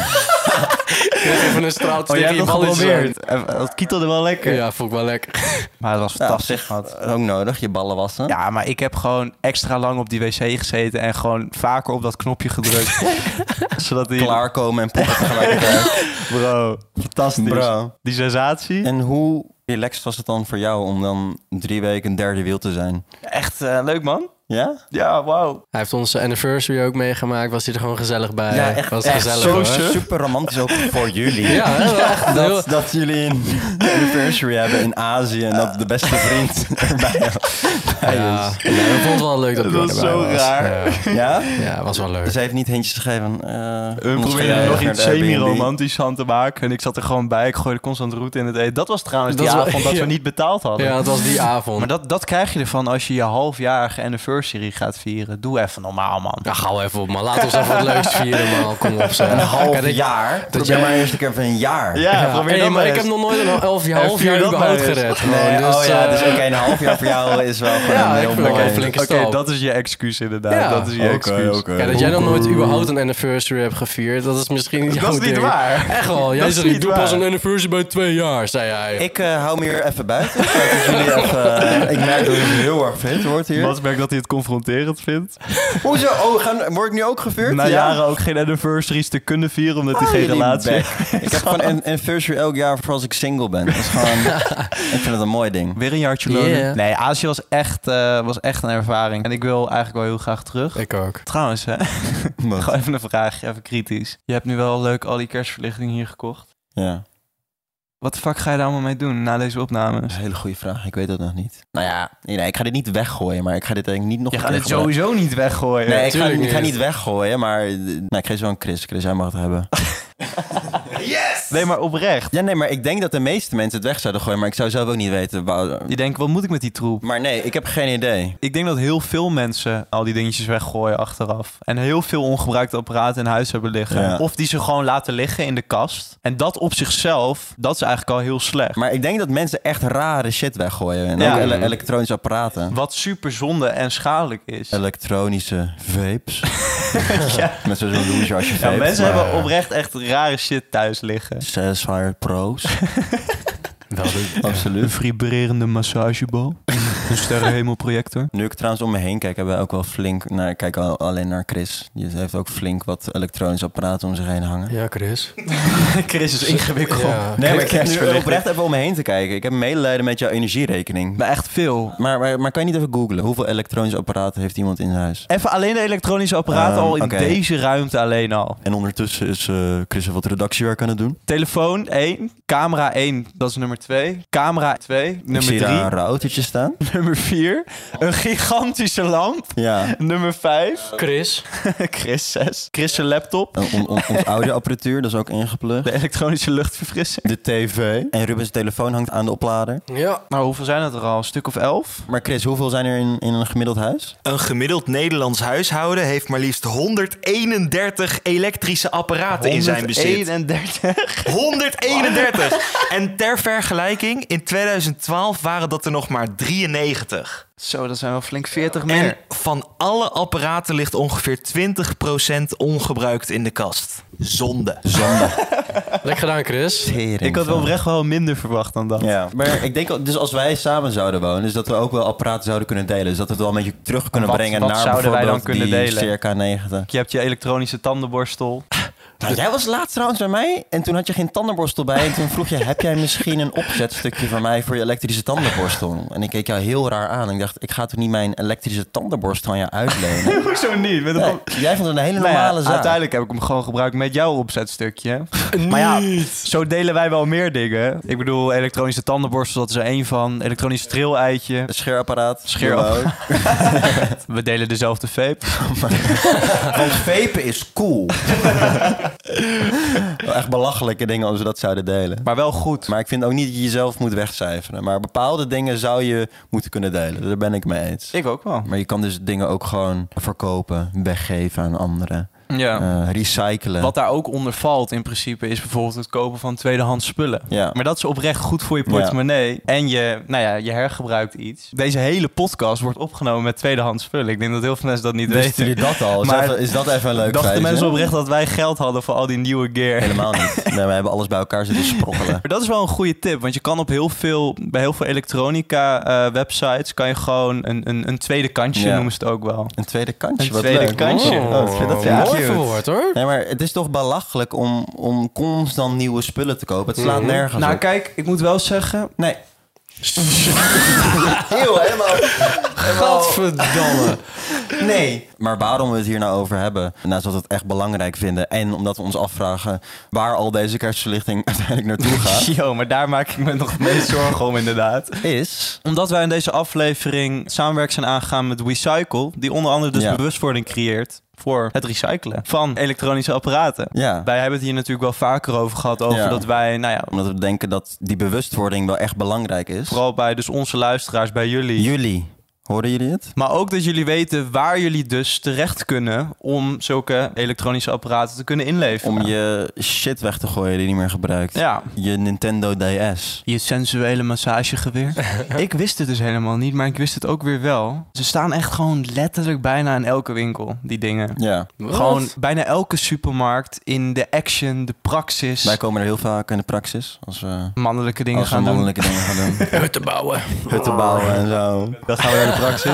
[SPEAKER 3] kreeg Even een straaltje
[SPEAKER 4] Oh, jij
[SPEAKER 3] tegen
[SPEAKER 4] hebt
[SPEAKER 3] je
[SPEAKER 4] het
[SPEAKER 3] ballen in je zak.
[SPEAKER 4] geprobeerd. Eh, Dat kietelde wel lekker.
[SPEAKER 3] Ja, vond ik wel lekker.
[SPEAKER 4] Maar het was
[SPEAKER 1] Ja, op
[SPEAKER 4] fantastisch.
[SPEAKER 1] zich ook nodig, je ballen wassen.
[SPEAKER 4] Ja, maar ik heb gewoon extra lang op die wc gezeten en gewoon vaker op dat knopje gedrukt. Zodat die...
[SPEAKER 1] Klaarkomen en poppen tegelijkertijd.
[SPEAKER 4] Bro, fantastisch.
[SPEAKER 1] Bro.
[SPEAKER 4] Die sensatie.
[SPEAKER 1] En hoe relaxed was het dan voor jou om dan drie weken een derde wiel te zijn?
[SPEAKER 4] Echt
[SPEAKER 3] eh,
[SPEAKER 4] leuk, man.
[SPEAKER 1] Ja?
[SPEAKER 4] Ja, wauw.
[SPEAKER 3] Hij heeft onze anniversary ook meegemaakt. Was hij er gewoon gezellig bij. Eh, was gezellig
[SPEAKER 1] zo
[SPEAKER 3] hoor.
[SPEAKER 1] super romantisch ook voor jullie.
[SPEAKER 3] Ja, hè, wel echt heel-
[SPEAKER 1] Dat, dat jullie een anniversary hebben in Azië en dat de beste vriend erbij bij
[SPEAKER 3] ja.
[SPEAKER 1] is.
[SPEAKER 3] Nee, we vonden het wel leuk dat
[SPEAKER 4] Dat
[SPEAKER 3] Bjorn
[SPEAKER 4] was
[SPEAKER 3] erbij
[SPEAKER 4] zo
[SPEAKER 3] was.
[SPEAKER 4] raar.
[SPEAKER 3] Ja.
[SPEAKER 1] Ja?
[SPEAKER 3] Ja, was wel leuk.
[SPEAKER 1] Ze heeft niet hintjes gegeven. eh
[SPEAKER 4] We
[SPEAKER 1] ons
[SPEAKER 4] probeerden nog
[SPEAKER 1] naar
[SPEAKER 4] iets
[SPEAKER 1] de Airbnb.
[SPEAKER 4] semi-romantisch aan te maken. En ik zat er gewoon bij. Ik gooide constant roet in het eten. Dat was trouwens
[SPEAKER 3] Dat
[SPEAKER 4] die
[SPEAKER 3] is wel-
[SPEAKER 4] avond dat
[SPEAKER 3] ja.
[SPEAKER 4] we niet betaald hadden.
[SPEAKER 3] Ja, het was die avond.
[SPEAKER 4] Maar dat, dat krijg je ervan als je je halfjarige anniversary anniversary gaat vieren. Doe even normaal, man.
[SPEAKER 3] Ja, gauw even op, man. Laat ons even wat leuks vieren, man. Kom op, zeg.
[SPEAKER 1] Een half
[SPEAKER 3] Kijk, ik-
[SPEAKER 1] jaar? Dat Probeer
[SPEAKER 3] jij-
[SPEAKER 1] maar eerst een keer van een jaar.
[SPEAKER 4] Ja, probeer
[SPEAKER 3] Hey,
[SPEAKER 4] dat
[SPEAKER 3] maar
[SPEAKER 4] maar
[SPEAKER 3] ik
[SPEAKER 4] eens.
[SPEAKER 3] heb nog nooit een half jaar,
[SPEAKER 4] En
[SPEAKER 3] half
[SPEAKER 4] vier
[SPEAKER 3] jaar
[SPEAKER 4] dat maar
[SPEAKER 3] überhaupt
[SPEAKER 4] eens.
[SPEAKER 3] gered. gewoon.
[SPEAKER 1] Nee,
[SPEAKER 3] dus,
[SPEAKER 1] oh ja,
[SPEAKER 3] eh,
[SPEAKER 1] dus oké, een half jaar voor jou is wel gewoon
[SPEAKER 3] Ja,
[SPEAKER 1] heel
[SPEAKER 3] ik vind het
[SPEAKER 1] mooi.
[SPEAKER 3] ook een flinke
[SPEAKER 4] Oké,
[SPEAKER 3] stap.
[SPEAKER 4] dat is je excuus inderdaad.
[SPEAKER 3] Ja.
[SPEAKER 4] Dat is je excuus.
[SPEAKER 3] Ja, dat jij nog nooit überhaupt een anniversary hebt gevierd, dat is misschien niet jouw
[SPEAKER 4] Dat is niet
[SPEAKER 3] ding.
[SPEAKER 4] waar.
[SPEAKER 3] Echt wel. Jij
[SPEAKER 4] Dat is
[SPEAKER 3] zei, ik
[SPEAKER 4] niet
[SPEAKER 3] doe
[SPEAKER 4] waar.
[SPEAKER 3] pas een anniversary bij twee jaar, zei hij.
[SPEAKER 1] Ik eh, hou me hier even buiten. Ik kijk of jullie even- eh, ik merk dat het heel erg fit wordt hier.
[SPEAKER 4] Bas merkt dat hij het confronterend vindt.
[SPEAKER 1] Hoezo? Oh, gaan, word ik nu ook gevuurd?
[SPEAKER 4] Na jaren ook geen anniversaries te kunnen vieren omdat hij
[SPEAKER 1] Oh,
[SPEAKER 4] geen
[SPEAKER 1] jullie
[SPEAKER 4] relatie
[SPEAKER 1] bek.
[SPEAKER 4] heeft.
[SPEAKER 1] Ik heb gewoon een anniversary elk jaar voor als ik single ben. Dat is gewoon... ik vind het een mooi ding.
[SPEAKER 4] Weer een jaartje
[SPEAKER 3] Yeah.
[SPEAKER 4] lonen. Nee, Azië was echt, eh, was echt een ervaring. En ik wil eigenlijk wel heel graag terug.
[SPEAKER 3] Ik ook.
[SPEAKER 4] Trouwens, hè? Gewoon even een vraag, even kritisch. Je hebt nu wel leuk al die kerstverlichting hier gekocht.
[SPEAKER 1] Ja,
[SPEAKER 4] Wat de fuck ga je daar allemaal mee doen na deze
[SPEAKER 1] dat
[SPEAKER 4] opnames?
[SPEAKER 1] is een hele goede vraag. Ik weet dat nog niet. Nou ja, nee, nee, ik ga dit niet weggooien, maar ik ga dit denk ik niet nog
[SPEAKER 4] Je
[SPEAKER 1] een
[SPEAKER 4] gaat
[SPEAKER 1] keer
[SPEAKER 4] dit sowieso niet weggooien.
[SPEAKER 1] Nee, ik ga,
[SPEAKER 3] Tuurlijk
[SPEAKER 1] ik ga
[SPEAKER 3] niet.
[SPEAKER 1] niet weggooien, maar eh, nou, ik geef zo aan Chris. Chris, jij mag het hebben.
[SPEAKER 4] Nee, maar oprecht.
[SPEAKER 1] Ja, nee, maar ik denk dat de meeste mensen het weg zouden gooien, maar ik zou zelf ook niet weten. waar-
[SPEAKER 4] Je denkt, wat moet ik met die troep?
[SPEAKER 1] Maar nee, ik heb geen idee.
[SPEAKER 4] Ik denk dat heel veel mensen al die dingetjes weggooien achteraf. En heel veel ongebruikte apparaten in huis hebben liggen.
[SPEAKER 1] Ja.
[SPEAKER 4] Of die ze gewoon laten liggen in de kast. En dat op zichzelf, dat is eigenlijk al heel slecht.
[SPEAKER 1] Maar ik denk dat mensen echt rare shit weggooien. En
[SPEAKER 4] Ja.
[SPEAKER 1] ook ele- elektronische apparaten.
[SPEAKER 4] Wat super zonde en schadelijk is.
[SPEAKER 1] Elektronische vapes. Met zo'n loser als je
[SPEAKER 4] Ja,
[SPEAKER 1] vapes.
[SPEAKER 4] mensen
[SPEAKER 1] maar-
[SPEAKER 4] hebben oprecht echt rare shit thuis liggen.
[SPEAKER 1] Satisfyer Pro's.
[SPEAKER 3] Wel doen.
[SPEAKER 4] Een
[SPEAKER 1] Absoluut.
[SPEAKER 4] vibrerende massagebal. een sterrenhemelprojector.
[SPEAKER 1] Nu ik trouwens om me heen kijk, hebben we ook wel flink... Naar, ik kijk al, alleen naar Chris. Die heeft ook flink wat elektronische apparaten om zich heen hangen.
[SPEAKER 3] Ja, Chris.
[SPEAKER 4] Chris is ingewikkeld.
[SPEAKER 3] Ja.
[SPEAKER 1] Nee, maar ik heb nu
[SPEAKER 4] Kerstverlichting.
[SPEAKER 1] oprecht even om me heen te kijken. Ik heb medelijden met jouw energierekening.
[SPEAKER 4] Maar echt veel.
[SPEAKER 1] Maar, maar, maar kan je niet even googlen? Hoeveel elektronische apparaten heeft iemand in huis?
[SPEAKER 4] Even alleen de elektronische apparaten
[SPEAKER 1] Ehm,
[SPEAKER 4] al in
[SPEAKER 1] oké.
[SPEAKER 4] deze ruimte alleen al.
[SPEAKER 1] En ondertussen is eh, Chris even wat redactiewerk aan het doen.
[SPEAKER 4] Telefoon 1, camera 1, dat is nummer 2. Camera 2,
[SPEAKER 1] Ik
[SPEAKER 4] nummer
[SPEAKER 1] zie daar
[SPEAKER 4] 3,
[SPEAKER 1] een routertje staan.
[SPEAKER 4] nummer 4. Een gigantische lamp.
[SPEAKER 1] Ja.
[SPEAKER 4] Nummer 5,
[SPEAKER 3] Chris.
[SPEAKER 4] Chris 6. Chris zijn laptop.
[SPEAKER 1] En on- on- ons audioapparatuur, dat is ook ingeplugd.
[SPEAKER 4] De elektronische luchtverfrissing.
[SPEAKER 1] De tv. En Rubens telefoon hangt aan de oplader.
[SPEAKER 3] Ja.
[SPEAKER 4] Maar Nou, hoeveel zijn het er al? Een stuk of 11?
[SPEAKER 1] Maar Chris, hoeveel zijn er in, in een gemiddeld huis?
[SPEAKER 5] Een gemiddeld Nederlands huishouden heeft maar liefst 131 elektrische apparaten in zijn bezit.
[SPEAKER 4] 131.
[SPEAKER 5] 131! en ter vergelijking, in 2012 waren dat er nog maar 93.
[SPEAKER 4] Zo, dat zijn wel flink 40
[SPEAKER 5] En
[SPEAKER 4] meer.
[SPEAKER 5] van alle apparaten ligt ongeveer 20% ongebruikt in de kast. Zonde.
[SPEAKER 3] Lekker gedaan, Chris.
[SPEAKER 4] Ik had wel oprecht wel minder verwacht dan dat.
[SPEAKER 1] Ja, maar ik denk, al- dus als wij samen zouden wonen, dus dat we ook wel apparaten zouden kunnen delen. Dus dat we het wel een beetje terug kunnen
[SPEAKER 4] Wat-
[SPEAKER 1] brengen
[SPEAKER 4] wat
[SPEAKER 1] naar
[SPEAKER 4] zouden wij dan
[SPEAKER 1] bijvoorbeeld
[SPEAKER 4] kunnen
[SPEAKER 1] die
[SPEAKER 4] delen?
[SPEAKER 1] circa 90.
[SPEAKER 4] Je hebt je elektronische tandenborstel.
[SPEAKER 1] Nou, jij was laatst trouwens bij mij en toen had je geen tandenborstel bij. En toen vroeg je, heb jij misschien een opzetstukje voor mij voor je elektrische tandenborstel? En ik keek jou heel raar aan. Ik dacht, ik ga toch niet mijn elektrische tandenborstel aan jou uitlenen?
[SPEAKER 4] Hoezo niet? Met een
[SPEAKER 1] Nee, jij vond het een hele
[SPEAKER 4] Nou ja,
[SPEAKER 1] normale zaak.
[SPEAKER 4] Uiteindelijk heb ik hem gewoon gebruikt met jouw opzetstukje. maar ja, zo delen wij wel meer dingen. Ik bedoel, elektronische tandenborstel, dat is er één van. Elektronisch trilleitje.
[SPEAKER 1] Een scheerapparaat.
[SPEAKER 4] Scheerapparaat. We delen dezelfde vape.
[SPEAKER 1] Want vapen is cool. Wel Echt belachelijke dingen als we dat zouden delen.
[SPEAKER 4] Maar wel goed.
[SPEAKER 1] Maar ik vind ook niet dat je jezelf moet wegcijferen. Maar bepaalde dingen zou je moeten kunnen delen. Daar ben ik mee eens.
[SPEAKER 4] ik ook wel.
[SPEAKER 1] Maar je kan dus dingen ook gewoon verkopen, weggeven aan anderen.
[SPEAKER 4] Ja.
[SPEAKER 1] eh, recyclen.
[SPEAKER 4] Wat daar ook onder valt in principe is bijvoorbeeld het kopen van tweedehands spullen.
[SPEAKER 1] Ja.
[SPEAKER 4] Maar dat is oprecht goed voor je portemonnee. En je, nou ja, je hergebruikt iets. Deze hele podcast wordt opgenomen met tweedehands spullen. Ik denk dat heel veel mensen dat niet
[SPEAKER 1] Wisten
[SPEAKER 4] weten.
[SPEAKER 1] jullie dat al? Is,
[SPEAKER 4] Maar
[SPEAKER 1] dat, is dat even een leuk
[SPEAKER 4] Dachten
[SPEAKER 1] feitje?
[SPEAKER 4] mensen oprecht dat wij geld hadden voor al die nieuwe gear.
[SPEAKER 1] Helemaal niet. Nee, we hebben alles bij elkaar zitten sprokkelen.
[SPEAKER 4] Maar dat is wel een goede tip, want je kan op heel veel, bij heel veel elektronica eh, websites kan je gewoon een, een, een tweede kantje,
[SPEAKER 1] Ja.
[SPEAKER 4] noemen ze het ook wel.
[SPEAKER 1] Een tweede kantje.
[SPEAKER 4] Een
[SPEAKER 1] wat
[SPEAKER 4] tweede
[SPEAKER 1] leuk.
[SPEAKER 4] kantje.
[SPEAKER 1] Oh, ik vind dat
[SPEAKER 4] Ja.
[SPEAKER 1] wel
[SPEAKER 3] Mooi
[SPEAKER 1] cute.
[SPEAKER 3] verwoord, hoor.
[SPEAKER 1] Nee, maar het is toch belachelijk om, om constant nieuwe spullen te kopen. Het slaat
[SPEAKER 3] Mhm.
[SPEAKER 1] nergens
[SPEAKER 4] Nou
[SPEAKER 1] op.
[SPEAKER 4] kijk, ik moet wel zeggen,
[SPEAKER 1] Nee. Eeuw, helemaal...
[SPEAKER 3] Godverdamme.
[SPEAKER 1] Nee. Maar waarom we het hier nou over hebben, naast dat we het echt belangrijk vinden... en omdat we ons afvragen waar al deze kerstverlichting uiteindelijk naartoe gaat...
[SPEAKER 4] yo, maar daar maak ik me nog het meest zorgen om inderdaad.
[SPEAKER 1] is...
[SPEAKER 4] Omdat wij in deze aflevering samenwerking zijn aangegaan met WeCycle, die onder andere dus
[SPEAKER 1] Ja.
[SPEAKER 4] bewustwording creëert voor het recyclen van elektronische apparaten.
[SPEAKER 1] Ja.
[SPEAKER 4] Wij hebben het hier natuurlijk wel vaker over gehad, over
[SPEAKER 1] Ja.
[SPEAKER 4] dat wij, nou ja,
[SPEAKER 1] Omdat we denken dat die bewustwording wel echt belangrijk is.
[SPEAKER 4] vooral bij dus onze luisteraars, bij jullie,
[SPEAKER 1] Jullie. Hoorden jullie het?
[SPEAKER 4] Maar ook dat jullie weten waar jullie dus terecht kunnen om zulke elektronische apparaten te kunnen inleveren.
[SPEAKER 1] Om je shit weg te gooien die je niet meer gebruikt.
[SPEAKER 4] Ja.
[SPEAKER 1] Je Nintendo DS.
[SPEAKER 4] Je sensuele massagegeweer. ik wist het dus helemaal niet, maar ik wist het ook weer wel. Ze staan echt gewoon letterlijk bijna in elke winkel, die dingen.
[SPEAKER 1] Ja,
[SPEAKER 4] Gewoon bijna elke supermarkt in de action, de praxis,
[SPEAKER 1] wij komen er heel vaak in de praxis. Als we,
[SPEAKER 4] mannelijke dingen
[SPEAKER 1] als we
[SPEAKER 4] gaan doen.
[SPEAKER 1] mannelijke dingen gaan doen.
[SPEAKER 3] Hutten bouwen.
[SPEAKER 1] Hutten bouwen en zo.
[SPEAKER 4] Dat gaan we naar de praxis.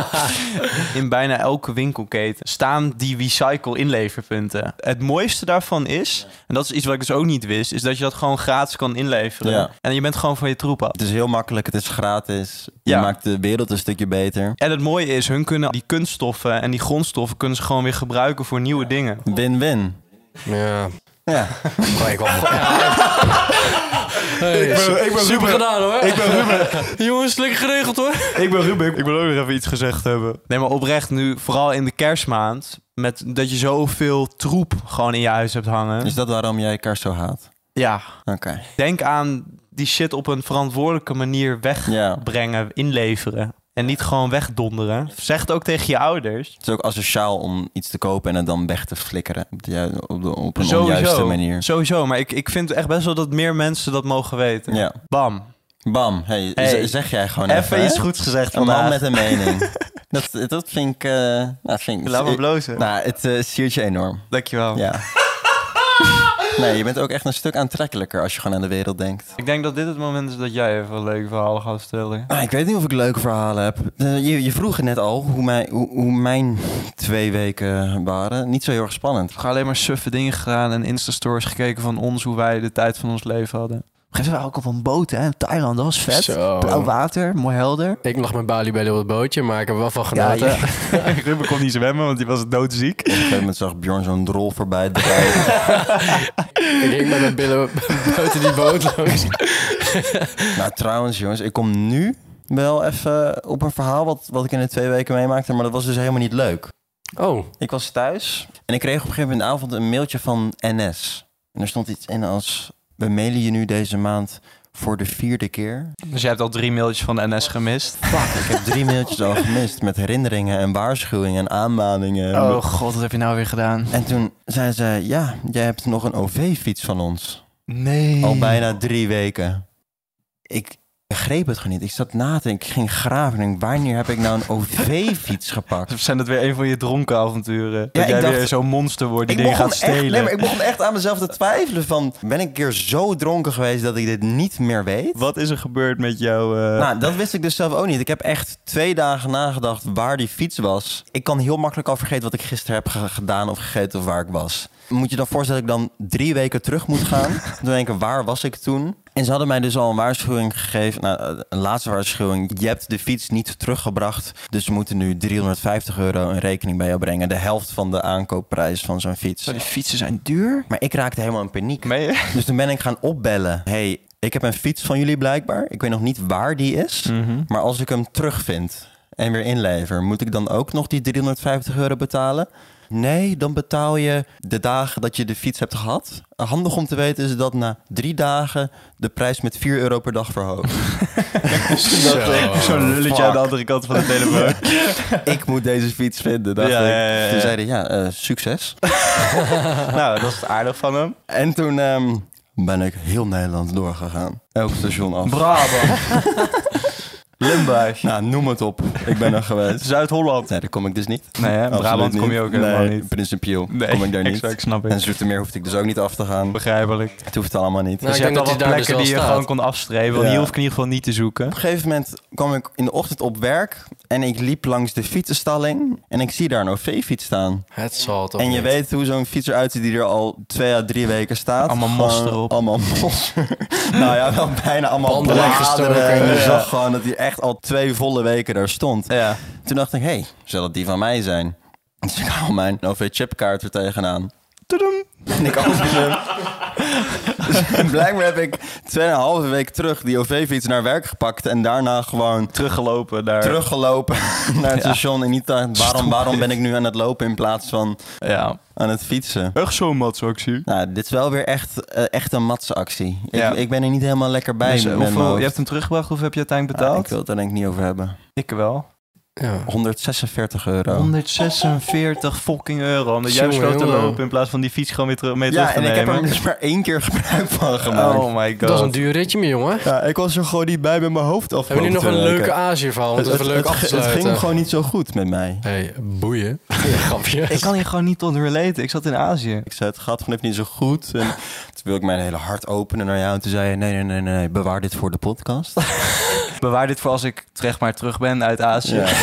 [SPEAKER 4] In bijna elke winkelketen staan die recycle inleverpunten. Het mooiste daarvan is, en dat is iets wat ik dus ook niet wist, is dat je dat gewoon gratis kan inleveren.
[SPEAKER 1] Ja.
[SPEAKER 4] En je bent gewoon van je troep af.
[SPEAKER 1] Het is heel makkelijk, het is gratis. Je
[SPEAKER 4] Ja.
[SPEAKER 1] maakt de wereld een stukje beter.
[SPEAKER 4] En het mooie is, hun kunnen die kunststoffen en die grondstoffen kunnen ze gewoon weer gebruiken voor nieuwe dingen.
[SPEAKER 1] Win-win.
[SPEAKER 3] Ja.
[SPEAKER 1] Ja.
[SPEAKER 3] Maar ik wel. super gedaan hoor. Ik ben Ruben. Jongens, lekker geregeld hoor.
[SPEAKER 4] Ik ben Rubik, ik wil ook nog even iets gezegd hebben. Nee, maar oprecht nu, vooral in de kerstmaand, met dat je zoveel troep gewoon in je huis hebt hangen.
[SPEAKER 1] Is dat waarom jij kerst zo haat?
[SPEAKER 4] Ja,
[SPEAKER 1] Oké.
[SPEAKER 4] denk aan die shit op een verantwoordelijke manier weg
[SPEAKER 1] Ja.
[SPEAKER 4] brengen, inleveren. En niet gewoon wegdonderen. Zeg het ook tegen je ouders.
[SPEAKER 1] Het is ook asociaal om iets te kopen en het dan weg te flikkeren. Op, de ju- op, de- op een onjuiste
[SPEAKER 4] Sowieso.
[SPEAKER 1] manier.
[SPEAKER 4] Sowieso. Maar ik, ik vind echt best wel dat meer mensen dat mogen weten.
[SPEAKER 1] Ja.
[SPEAKER 4] Bam.
[SPEAKER 1] Bam. Hey,
[SPEAKER 4] Hey.
[SPEAKER 1] z- zeg jij gewoon even.
[SPEAKER 4] Even
[SPEAKER 1] hè?
[SPEAKER 4] iets goeds gezegd
[SPEAKER 1] Een man
[SPEAKER 4] vandaag.
[SPEAKER 1] met een mening. dat, dat vind ik... eh, nou, dat vind ik
[SPEAKER 4] Laat me blozen.
[SPEAKER 1] Nou, het eh siert je enorm.
[SPEAKER 4] Dankjewel.
[SPEAKER 1] Ja. nee, je bent ook echt een stuk aantrekkelijker als je gewoon aan de wereld denkt.
[SPEAKER 4] Ik denk dat dit het moment is dat jij even een leuk verhaal gaat vertellen.
[SPEAKER 1] Ah, ik weet niet of ik leuke verhalen heb. Eh, je, je vroeg het net al hoe mijn, hoe, hoe mijn twee weken waren. Niet zo heel erg spannend.
[SPEAKER 4] We gaan alleen maar suffe dingen gedaan en Insta-stories gekeken van ons, hoe wij de tijd van ons leven hadden. Op een gegeven moment waren we ook op een boot, hè? in Thailand, dat was vet.
[SPEAKER 3] Zo.
[SPEAKER 4] Blauw Oh, water, mooi helder.
[SPEAKER 3] Ik lag met Bali bij het bootje, maar ik heb er wel van genoten.
[SPEAKER 4] ja. Ruben kon niet zwemmen, want die was doodziek.
[SPEAKER 1] Op een gegeven moment zag Bjorn zo'n drol voorbij draaien.
[SPEAKER 3] Ik ging met mijn billen buiten die boot langs.
[SPEAKER 1] Nou, trouwens, jongens, ik kom nu wel even op een verhaal wat, wat ik in de twee weken meemaakte, maar dat was dus helemaal niet leuk.
[SPEAKER 3] Oh,
[SPEAKER 1] Ik was thuis en ik kreeg op een gegeven moment in de avond een mailtje van NS. En er stond iets in als, we mailen je nu deze maand voor de vierde keer.
[SPEAKER 4] Dus jij hebt al drie mailtjes van de NS gemist.
[SPEAKER 1] Fuck, ik heb drie mailtjes al gemist met herinneringen en waarschuwingen en aanmaningen.
[SPEAKER 4] god, wat heb je nou weer gedaan?
[SPEAKER 1] En toen zei ze, ja, jij hebt nog een OV-fiets van ons.
[SPEAKER 4] Nee.
[SPEAKER 1] Al bijna drie weken. Ik begreep het gewoon niet. Ik zat na te denken, ik ging graven. Ik denk, wanneer heb ik nou een OV-fiets gepakt?
[SPEAKER 4] Zijn dat weer een van je dronken avonturen?
[SPEAKER 1] Ja,
[SPEAKER 4] dat
[SPEAKER 1] ik
[SPEAKER 4] jij
[SPEAKER 1] dacht-
[SPEAKER 4] weer zo'n monster wordt die
[SPEAKER 1] Ik
[SPEAKER 4] dingen
[SPEAKER 1] begon,
[SPEAKER 4] gaat
[SPEAKER 1] echt, nee,
[SPEAKER 4] stelen.
[SPEAKER 1] maar ik begon echt aan mezelf te twijfelen van... ben ik een keer zo dronken geweest dat ik dit niet meer weet?
[SPEAKER 4] Wat is er gebeurd met jou? eh,
[SPEAKER 1] Nou, dat wist ik dus zelf ook niet. Ik heb echt twee dagen nagedacht waar die fiets was. Ik kan heel makkelijk al vergeten wat ik gisteren heb ge- gedaan of gegeten of waar ik was. Moet je dan voorstellen dat ik dan drie weken terug moet gaan? dan denk ik, waar was ik toen? En ze hadden mij dus al een waarschuwing gegeven. Nou, eh, een laatste waarschuwing. Je hebt de fiets niet teruggebracht. Dus we moeten nu 350 euro een rekening bij jou brengen. De helft van de aankoopprijs van zo'n fiets.
[SPEAKER 4] Zo, die fietsen zijn duur.
[SPEAKER 1] Maar ik raakte helemaal in paniek.
[SPEAKER 4] Meen je?
[SPEAKER 1] Dus toen ben ik gaan opbellen. hey, ik heb een fiets van jullie blijkbaar. Ik weet nog niet waar die is. Maar als ik hem terugvind en weer inlever, moet ik dan ook nog die 350 euro betalen? Nee, dan betaal je de dagen dat je de fiets hebt gehad. Handig om te weten is dat na drie dagen de prijs met 4 euro per dag verhoogt.
[SPEAKER 4] Zo'n lulletje
[SPEAKER 1] fuck.
[SPEAKER 4] aan de andere kant van de telefoon.
[SPEAKER 1] ik moet deze fiets vinden. dacht
[SPEAKER 4] Ja,
[SPEAKER 1] ik.
[SPEAKER 4] ja, ja, ja.
[SPEAKER 1] Toen zeiden ja, eh, succes.
[SPEAKER 4] nou, dat is het aardig van hem.
[SPEAKER 1] En toen ehm, ben ik heel Nederland doorgegaan. Elk station af.
[SPEAKER 4] Brabant. Limburg.
[SPEAKER 1] nou, noem het op. Ik ben er geweest.
[SPEAKER 4] Zuid-Holland.
[SPEAKER 1] Nee, daar kom ik dus niet.
[SPEAKER 4] Nee, hè?
[SPEAKER 1] Absoluut
[SPEAKER 4] Brabant kom je
[SPEAKER 1] niet.
[SPEAKER 4] ook helemaal
[SPEAKER 1] Nee,
[SPEAKER 4] niet.
[SPEAKER 1] Principieel kom ik daar niet.
[SPEAKER 4] exact, snap
[SPEAKER 1] En
[SPEAKER 4] ik.
[SPEAKER 1] Zoetermeer hoefde ik dus ook niet af te gaan.
[SPEAKER 4] Begrijpelijk.
[SPEAKER 1] Het hoeft allemaal niet.
[SPEAKER 3] Nou,
[SPEAKER 4] dus
[SPEAKER 3] ik
[SPEAKER 4] je
[SPEAKER 3] denk
[SPEAKER 4] hebt al
[SPEAKER 3] dat hij
[SPEAKER 4] wat
[SPEAKER 3] daar
[SPEAKER 4] plekken
[SPEAKER 3] dus wel
[SPEAKER 4] die je
[SPEAKER 3] staat.
[SPEAKER 4] gewoon kon afstreven. Want
[SPEAKER 1] Ja.
[SPEAKER 4] hier hoef ik in ieder geval niet te zoeken.
[SPEAKER 1] Op een gegeven moment kwam ik in de ochtend op werk en ik liep langs de fietsenstalling en ik zie daar een OV-fiets staan.
[SPEAKER 3] het zal toch
[SPEAKER 1] en je
[SPEAKER 3] niet.
[SPEAKER 1] weet hoe zo'n fiets eruit ziet die er al twee à drie weken staat.
[SPEAKER 4] Allemaal mos
[SPEAKER 1] Gewoon
[SPEAKER 4] erop.
[SPEAKER 1] Allemaal mos. nou ja, wel bijna allemaal
[SPEAKER 3] Banden
[SPEAKER 1] bladeren.
[SPEAKER 3] weggestoken.
[SPEAKER 1] En Je
[SPEAKER 3] Ja.
[SPEAKER 1] zag gewoon dat hij echt al twee volle weken daar stond.
[SPEAKER 4] Ja.
[SPEAKER 1] Toen dacht ik, hé, hey, zal dat die van mij zijn? Dus ik haal mijn OV-chipkaart er tegenaan. En ik open hem. Dus blijkbaar heb ik 2,5 week terug die OV-fiets naar werk gepakt. En daarna gewoon
[SPEAKER 4] Teruggelopen daar.
[SPEAKER 1] teruggelopen naar het
[SPEAKER 4] Ja.
[SPEAKER 1] station. En niet dacht, waarom, waarom ben ik nu aan het lopen in plaats van
[SPEAKER 4] Ja.
[SPEAKER 1] aan het fietsen?
[SPEAKER 4] Echt zo'n matsactie.
[SPEAKER 1] Nou, dit is wel weer echt, eh, echt een matse actie. Ik,
[SPEAKER 4] Ja.
[SPEAKER 1] ik ben er niet helemaal lekker bij.
[SPEAKER 4] Dus
[SPEAKER 1] met
[SPEAKER 4] hoeveel,
[SPEAKER 1] mijn
[SPEAKER 4] je
[SPEAKER 1] hoofd.
[SPEAKER 4] hebt hem teruggebracht, hoeveel heb je uiteindelijk
[SPEAKER 1] Ah,
[SPEAKER 4] betaald?
[SPEAKER 1] ik wil het er denk ik niet over hebben.
[SPEAKER 4] Ik wel.
[SPEAKER 3] Ja.
[SPEAKER 1] 146 euro.
[SPEAKER 4] 146 fucking euro. Omdat jij
[SPEAKER 3] Jongen,
[SPEAKER 4] besloot te
[SPEAKER 3] jongen.
[SPEAKER 4] lopen in plaats van die fiets gewoon weer terug, mee
[SPEAKER 1] ja,
[SPEAKER 4] terug te
[SPEAKER 1] en ik heb
[SPEAKER 4] nemen.
[SPEAKER 1] er dus maar één keer gebruik van gemaakt.
[SPEAKER 4] Oh my god.
[SPEAKER 3] Dat is een duur ritje, mijn jongen.
[SPEAKER 1] Ja, ik was er gewoon niet bij met mijn hoofd af.
[SPEAKER 3] Hebben we nu nog een leuke Azië-verhaal? Want
[SPEAKER 1] het,
[SPEAKER 3] dat is
[SPEAKER 1] het,
[SPEAKER 3] wel leuk
[SPEAKER 1] het,
[SPEAKER 3] af te
[SPEAKER 1] het ging
[SPEAKER 3] sluiten.
[SPEAKER 1] gewoon niet zo goed met mij.
[SPEAKER 3] hey, boeien. Grapje.
[SPEAKER 4] Ik kan hier gewoon niet tot relaten. Ik zat in Azië.
[SPEAKER 1] Ik zei, het gaat vanaf niet zo goed. En toen wil ik mijn hele hart openen naar jou. En toen zei je, nee, nee, nee, nee, bewaar dit voor de podcast.
[SPEAKER 4] Bewaar dit voor als ik terecht maar terug ben uit Azië.
[SPEAKER 1] Ja.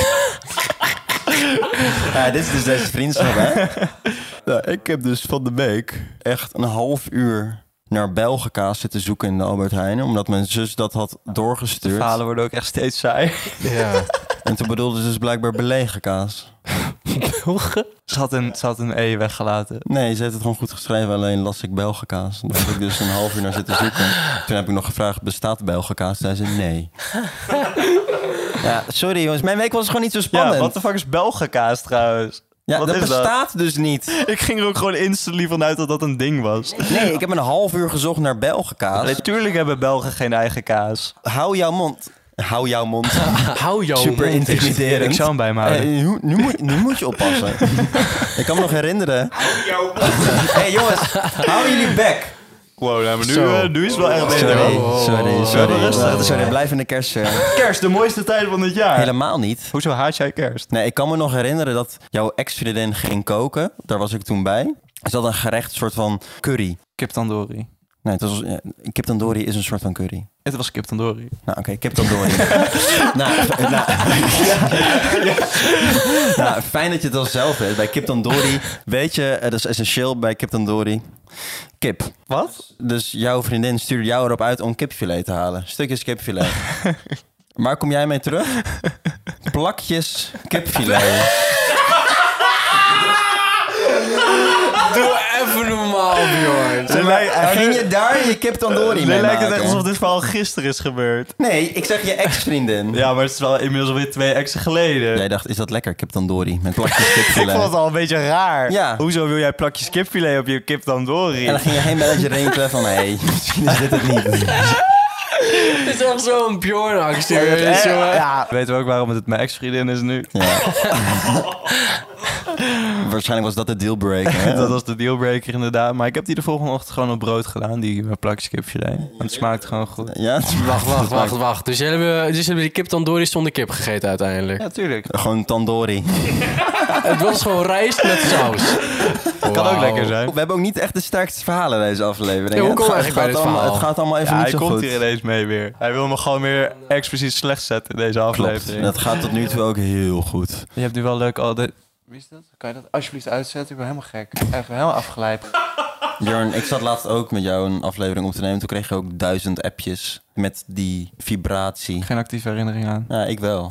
[SPEAKER 1] Ja, dit is dus deze vriendschap, hè? Nou, ik heb dus van de week echt een half uur naar Belgica's zitten zoeken in de Albert Heijn. Omdat mijn zus dat had
[SPEAKER 4] De
[SPEAKER 1] doorgestuurd.
[SPEAKER 4] verhalen worden ook echt steeds saai.
[SPEAKER 3] Ja.
[SPEAKER 1] En toen bedoelde ze dus blijkbaar belegen kaas.
[SPEAKER 4] Ze had een, ze had een E weggelaten.
[SPEAKER 1] Nee, ze heeft het gewoon goed geschreven, alleen las ik Belgenkaas. Daar heb ik dus een half uur naar zitten zoeken. Toen heb ik nog gevraagd, bestaat Belgenkaas? Toen zei ze nee. Ja, sorry jongens, mijn week was gewoon niet zo spannend.
[SPEAKER 4] Ja, wat de fuck is Belgenkaas trouwens?
[SPEAKER 1] Ja,
[SPEAKER 4] wat
[SPEAKER 1] dat
[SPEAKER 4] is dat?
[SPEAKER 1] bestaat dus niet.
[SPEAKER 4] Ik ging er ook gewoon instantly vanuit dat dat een ding was.
[SPEAKER 1] Nee, ik heb een half uur gezocht naar Belgenkaas.
[SPEAKER 4] Natuurlijk hebben Belgen geen eigen kaas.
[SPEAKER 1] Hou jouw mond. Hou jouw mond.
[SPEAKER 3] Hou jou
[SPEAKER 1] Super intimiderend.
[SPEAKER 4] Ik zou hem bij me houden.
[SPEAKER 1] Eh, nu, nu moet, nu moet je oppassen. ik kan me nog herinneren. Hé hey, jongens, hou jullie bek.
[SPEAKER 4] Wow, nou, maar nu,
[SPEAKER 3] Zo.
[SPEAKER 4] eh, nu is het wel echt
[SPEAKER 1] Sorry,
[SPEAKER 4] beter.
[SPEAKER 3] oh, oh,
[SPEAKER 1] sorry,
[SPEAKER 3] oh.
[SPEAKER 1] sorry.
[SPEAKER 4] Wel rustig,
[SPEAKER 1] Sorry,
[SPEAKER 4] hè?
[SPEAKER 1] sorry, blijf in de kerst. eh.
[SPEAKER 4] Kerst, de mooiste tijd van het jaar.
[SPEAKER 1] Helemaal niet.
[SPEAKER 4] Hoezo haat jij kerst?
[SPEAKER 1] Nee, ik kan me nog herinneren dat jouw ex-student ging koken. Daar was ik toen bij. Ze had een gerecht, soort van curry.
[SPEAKER 4] Kip tandoori.
[SPEAKER 1] Nee, het was, ja, kip tandoori is een soort van curry.
[SPEAKER 4] Het was kip tandoori.
[SPEAKER 1] Nou, oké, kip tandoori. nou, f- nou, nou, fijn dat je het al zelf weet. Bij kip tandoori, weet je, eh, dat is essentieel bij kip tandoori. Kip.
[SPEAKER 4] Wat?
[SPEAKER 1] Dus jouw vriendin stuurde jou erop uit om kipfilet te halen. Stukjes kipfilet. Waar kom jij mee terug? Plakjes kipfilet.
[SPEAKER 3] Doe even normaal, Bjorn.
[SPEAKER 1] Zeg maar, ging je daar je kip tandoori mee
[SPEAKER 4] Nee, lijkt het
[SPEAKER 1] maken?
[SPEAKER 4] echt alsof dit verhaal gisteren is gebeurd.
[SPEAKER 1] Nee, ik zeg je ex-vriendin.
[SPEAKER 4] Ja, maar het is wel inmiddels alweer twee exen geleden.
[SPEAKER 1] Jij dacht, is dat lekker, kip tandoori? Met plakjes
[SPEAKER 4] Ik vond het
[SPEAKER 1] kipfilet.
[SPEAKER 4] al een beetje raar.
[SPEAKER 1] Ja.
[SPEAKER 4] Hoezo wil jij plakjes kipfilet op je kip tandoori?
[SPEAKER 1] En dan ging je heen met je rinkelen van, hé, hey, misschien is dit het niet.
[SPEAKER 3] Dit is echt zo'n Bjorn-actie.
[SPEAKER 4] Eh,
[SPEAKER 3] weet je wel.
[SPEAKER 4] ja. Weten we ook waarom het mijn ex-vriendin is nu?
[SPEAKER 1] Ja. Waarschijnlijk was dat de dealbreaker. hè?
[SPEAKER 4] Dat was de dealbreaker inderdaad. Maar ik heb die de volgende ochtend gewoon op brood gedaan, die met plakjes kipfilet. Want het smaakt gewoon goed.
[SPEAKER 1] Ja, het-
[SPEAKER 3] Wacht, wacht, wacht, wacht. Dus jullie hebben, dus jullie hebben die kip tandoori zonder kip gegeten uiteindelijk.
[SPEAKER 4] Ja, tuurlijk.
[SPEAKER 1] Gewoon tandoori.
[SPEAKER 3] Het was gewoon rijst met saus. Dat
[SPEAKER 4] Kan ook lekker zijn.
[SPEAKER 1] We hebben ook niet echt de sterkste verhalen deze aflevering.
[SPEAKER 3] Ja, hoe
[SPEAKER 1] Het
[SPEAKER 3] komen
[SPEAKER 1] gaat-
[SPEAKER 3] we eigenlijk bij
[SPEAKER 1] het
[SPEAKER 3] dit
[SPEAKER 1] gaat allemaal-
[SPEAKER 3] verhaal?
[SPEAKER 1] Het gaat allemaal even
[SPEAKER 4] Ja, hij
[SPEAKER 1] niet zo
[SPEAKER 4] komt
[SPEAKER 1] goed.
[SPEAKER 4] hier ineens mee weer. Hij wil me gewoon weer expliciet slecht zetten in deze aflevering.
[SPEAKER 1] Klopt. Dat gaat tot nu toe ook heel goed.
[SPEAKER 4] Je hebt nu wel leuk al de...
[SPEAKER 2] Wie is dat? Kan je dat alsjeblieft uitzetten? Ik ben helemaal gek. Even helemaal afgeleid.
[SPEAKER 1] Jorn, ik zat laatst ook met jou een aflevering op te nemen. Toen kreeg je ook duizend appjes met die vibratie.
[SPEAKER 4] Geen actieve herinnering aan.
[SPEAKER 1] Ja, ik wel.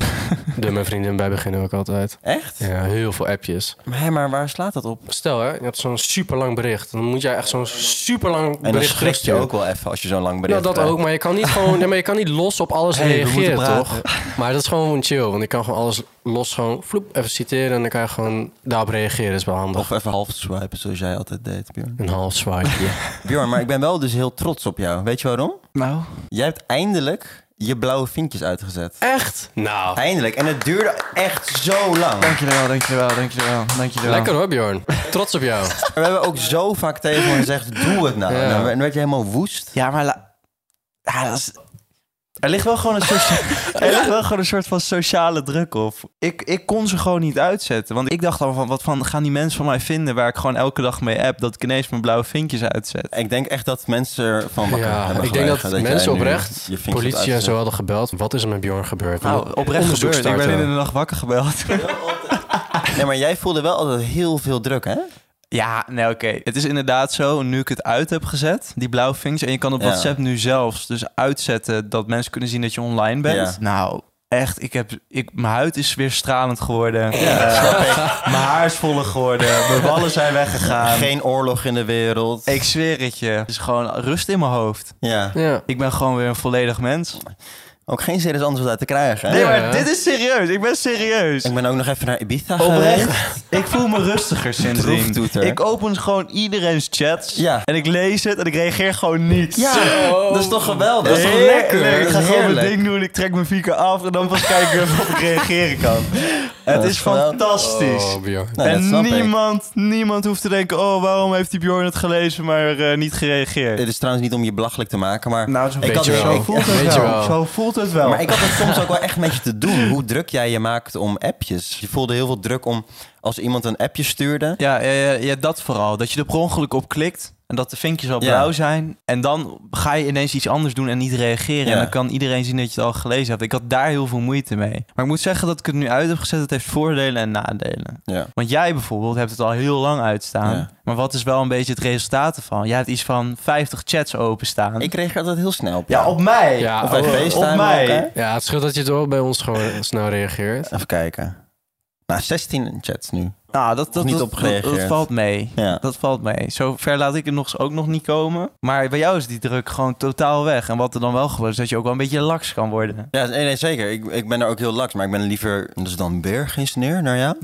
[SPEAKER 3] Doe mijn vrienden bij beginnen ook altijd.
[SPEAKER 1] Echt?
[SPEAKER 3] Ja, heel veel appjes.
[SPEAKER 1] Maar, hé, maar waar slaat dat op?
[SPEAKER 3] Stel hè, je hebt zo'n super lang bericht. Dan moet jij echt zo'n super lang
[SPEAKER 1] En dan
[SPEAKER 3] bericht
[SPEAKER 1] schrik je
[SPEAKER 3] terugsturen.
[SPEAKER 1] ook wel even als je zo'n lang
[SPEAKER 3] Nou,
[SPEAKER 1] bericht
[SPEAKER 3] dat
[SPEAKER 1] krijgt.
[SPEAKER 3] ook, maar je kan niet gewoon, nee, maar je kan niet los op alles
[SPEAKER 4] Hey, we
[SPEAKER 3] reageren,
[SPEAKER 4] moeten
[SPEAKER 3] toch? Maar dat is gewoon chill, want ik kan gewoon alles los gewoon vloep, even citeren en dan kan je gewoon daarop reageren, is wel handig.
[SPEAKER 1] Of even half swipen, zoals jij altijd deed, Bjorn.
[SPEAKER 3] Een half swipeje.
[SPEAKER 1] Bjorn, maar ik ben wel dus heel trots op jou. Weet je waarom?
[SPEAKER 4] Nou?
[SPEAKER 1] Jij hebt eindelijk je blauwe vinkjes uitgezet.
[SPEAKER 3] Echt? Nou,
[SPEAKER 1] Eindelijk. En het duurde echt zo lang. Maar
[SPEAKER 4] Dankjewel, dankjewel, dankjewel, dankjewel.
[SPEAKER 3] lekker hoor Bjorn. Trots op jou.
[SPEAKER 1] We hebben ook zo vaak tegen hem gezegd, doe het nou.
[SPEAKER 3] Ja.
[SPEAKER 1] Nou, En werd je helemaal woest.
[SPEAKER 4] Ja, maar... la- Ja, dat is... Er ligt, wel gewoon een soort, er ligt wel gewoon een soort van sociale druk op. Ik, ik kon ze gewoon niet uitzetten. Want ik dacht al van, wat van gaan die mensen van mij vinden... waar ik gewoon elke dag mee app... dat ik ineens mijn blauwe vinkjes uitzet.
[SPEAKER 1] Ik denk echt dat mensen ervan wakker
[SPEAKER 3] Ja,
[SPEAKER 1] hebben
[SPEAKER 3] ik denk dat,
[SPEAKER 1] gelegen jij
[SPEAKER 3] mensen
[SPEAKER 1] nu
[SPEAKER 3] oprecht,
[SPEAKER 1] je vinkjes hebt
[SPEAKER 3] politie en zo
[SPEAKER 1] uitgezet.
[SPEAKER 3] hadden gebeld. Wat is er met Bjorn gebeurd?
[SPEAKER 4] Nou, oprecht gebeurd.
[SPEAKER 3] Onderzoek
[SPEAKER 4] Ik ben
[SPEAKER 3] starten.
[SPEAKER 4] in de nacht wakker gebeld.
[SPEAKER 1] Nee, maar jij voelde wel altijd heel veel druk, hè?
[SPEAKER 4] Ja, nee, oké. Het is inderdaad zo, nu ik het uit heb gezet, die blauwe vinkjes... en je kan op
[SPEAKER 1] Ja.
[SPEAKER 4] WhatsApp nu zelfs dus uitzetten dat mensen kunnen zien dat je online bent.
[SPEAKER 1] Ja.
[SPEAKER 4] Nou, echt, ik heb, ik, mijn huid is weer stralend geworden.
[SPEAKER 1] Ja,
[SPEAKER 4] Eh, mijn haar is voller geworden. Mijn ballen zijn weggegaan.
[SPEAKER 1] Geen oorlog in de wereld.
[SPEAKER 4] Ik zweer het je. Het is gewoon rust in mijn hoofd.
[SPEAKER 1] Ja.
[SPEAKER 3] Ja.
[SPEAKER 4] Ik ben gewoon weer een volledig mens.
[SPEAKER 1] ook geen serieus antwoord uit te krijgen. hè?
[SPEAKER 4] Nee,
[SPEAKER 3] Ja.
[SPEAKER 4] maar dit is serieus. Ik ben serieus.
[SPEAKER 1] Ik ben ook nog even naar Ibiza geweest.
[SPEAKER 4] Oprecht. Ik voel me rustiger sindsdien.
[SPEAKER 1] Proeftoeter.
[SPEAKER 4] Ik open gewoon iedereen's chats.
[SPEAKER 1] Ja.
[SPEAKER 4] En ik lees het en ik reageer gewoon niet.
[SPEAKER 1] Ja, dat is toch geweldig?
[SPEAKER 4] Dat is toch lekker? Oh. Ik
[SPEAKER 1] Dat
[SPEAKER 4] ga gewoon
[SPEAKER 1] is
[SPEAKER 4] mijn
[SPEAKER 1] heerlijk.
[SPEAKER 4] ding doen, ik trek mijn viker af en dan pas kijken of ik reageren kan. Het
[SPEAKER 1] Dat
[SPEAKER 4] is
[SPEAKER 1] is geweldig.
[SPEAKER 4] fantastisch.
[SPEAKER 3] Oh, Bjorn.
[SPEAKER 1] Nou, dat
[SPEAKER 4] en
[SPEAKER 1] snap ik.
[SPEAKER 4] niemand, niemand hoeft te denken, oh waarom heeft die Bjorn het gelezen maar eh, niet gereageerd.
[SPEAKER 1] Dit is trouwens niet om je belachelijk te maken, maar...
[SPEAKER 4] Nou, zo'n
[SPEAKER 1] Ik had
[SPEAKER 4] beetje
[SPEAKER 1] het
[SPEAKER 4] zo
[SPEAKER 1] wel.
[SPEAKER 4] voelt het
[SPEAKER 3] Weet je
[SPEAKER 4] wel.
[SPEAKER 3] wel.
[SPEAKER 4] Zo voelt het wel.
[SPEAKER 1] Maar ik had het soms ook wel echt met je te doen. Hoe druk jij je maakt om appjes. Je voelde heel veel druk om als iemand een appje stuurde.
[SPEAKER 4] Ja, ja, ja, ja, dat vooral. Dat je er per ongeluk op klikt en dat de vinkjes al
[SPEAKER 1] Ja.
[SPEAKER 4] blauw zijn. En dan ga je ineens iets anders doen en niet reageren.
[SPEAKER 1] Ja.
[SPEAKER 4] En dan kan iedereen zien dat je het al gelezen hebt. Ik had daar heel veel moeite mee. Maar ik moet zeggen dat ik het nu uit heb gezet. Het heeft voordelen en nadelen.
[SPEAKER 1] Ja.
[SPEAKER 4] Want jij bijvoorbeeld hebt het al heel lang uitstaan.
[SPEAKER 1] Ja.
[SPEAKER 4] Maar wat is wel een beetje het resultaat ervan? Jij hebt iets van 50 chats openstaan.
[SPEAKER 1] Ik reageer altijd heel snel op.
[SPEAKER 4] Ja,
[SPEAKER 1] jou.
[SPEAKER 4] op mij.
[SPEAKER 3] Ja,
[SPEAKER 1] Of bij
[SPEAKER 3] oh,
[SPEAKER 1] FaceTime
[SPEAKER 4] op mij.
[SPEAKER 1] ook, hè?
[SPEAKER 3] Ja, het scheelt dat je het ook bij ons gewoon snel reageert.
[SPEAKER 1] Even kijken. Nou, 16 chats nu.
[SPEAKER 4] Nou, dat, dat,
[SPEAKER 1] Niet
[SPEAKER 4] dat,
[SPEAKER 1] op
[SPEAKER 4] dat- dat,
[SPEAKER 1] gereageerd.
[SPEAKER 4] valt mee.
[SPEAKER 1] Ja.
[SPEAKER 4] Dat valt mee. Zover laat ik het nog, eens- ook nog niet komen. Maar bij jou is die druk gewoon totaal weg. En wat er dan wel gebeurt, is dat je ook wel een beetje laks kan worden.
[SPEAKER 1] Ja, nee, nee, zeker. Ik, ik ben er ook heel laks, maar ik ben liever... Dus dan weer geen sneer naar jou?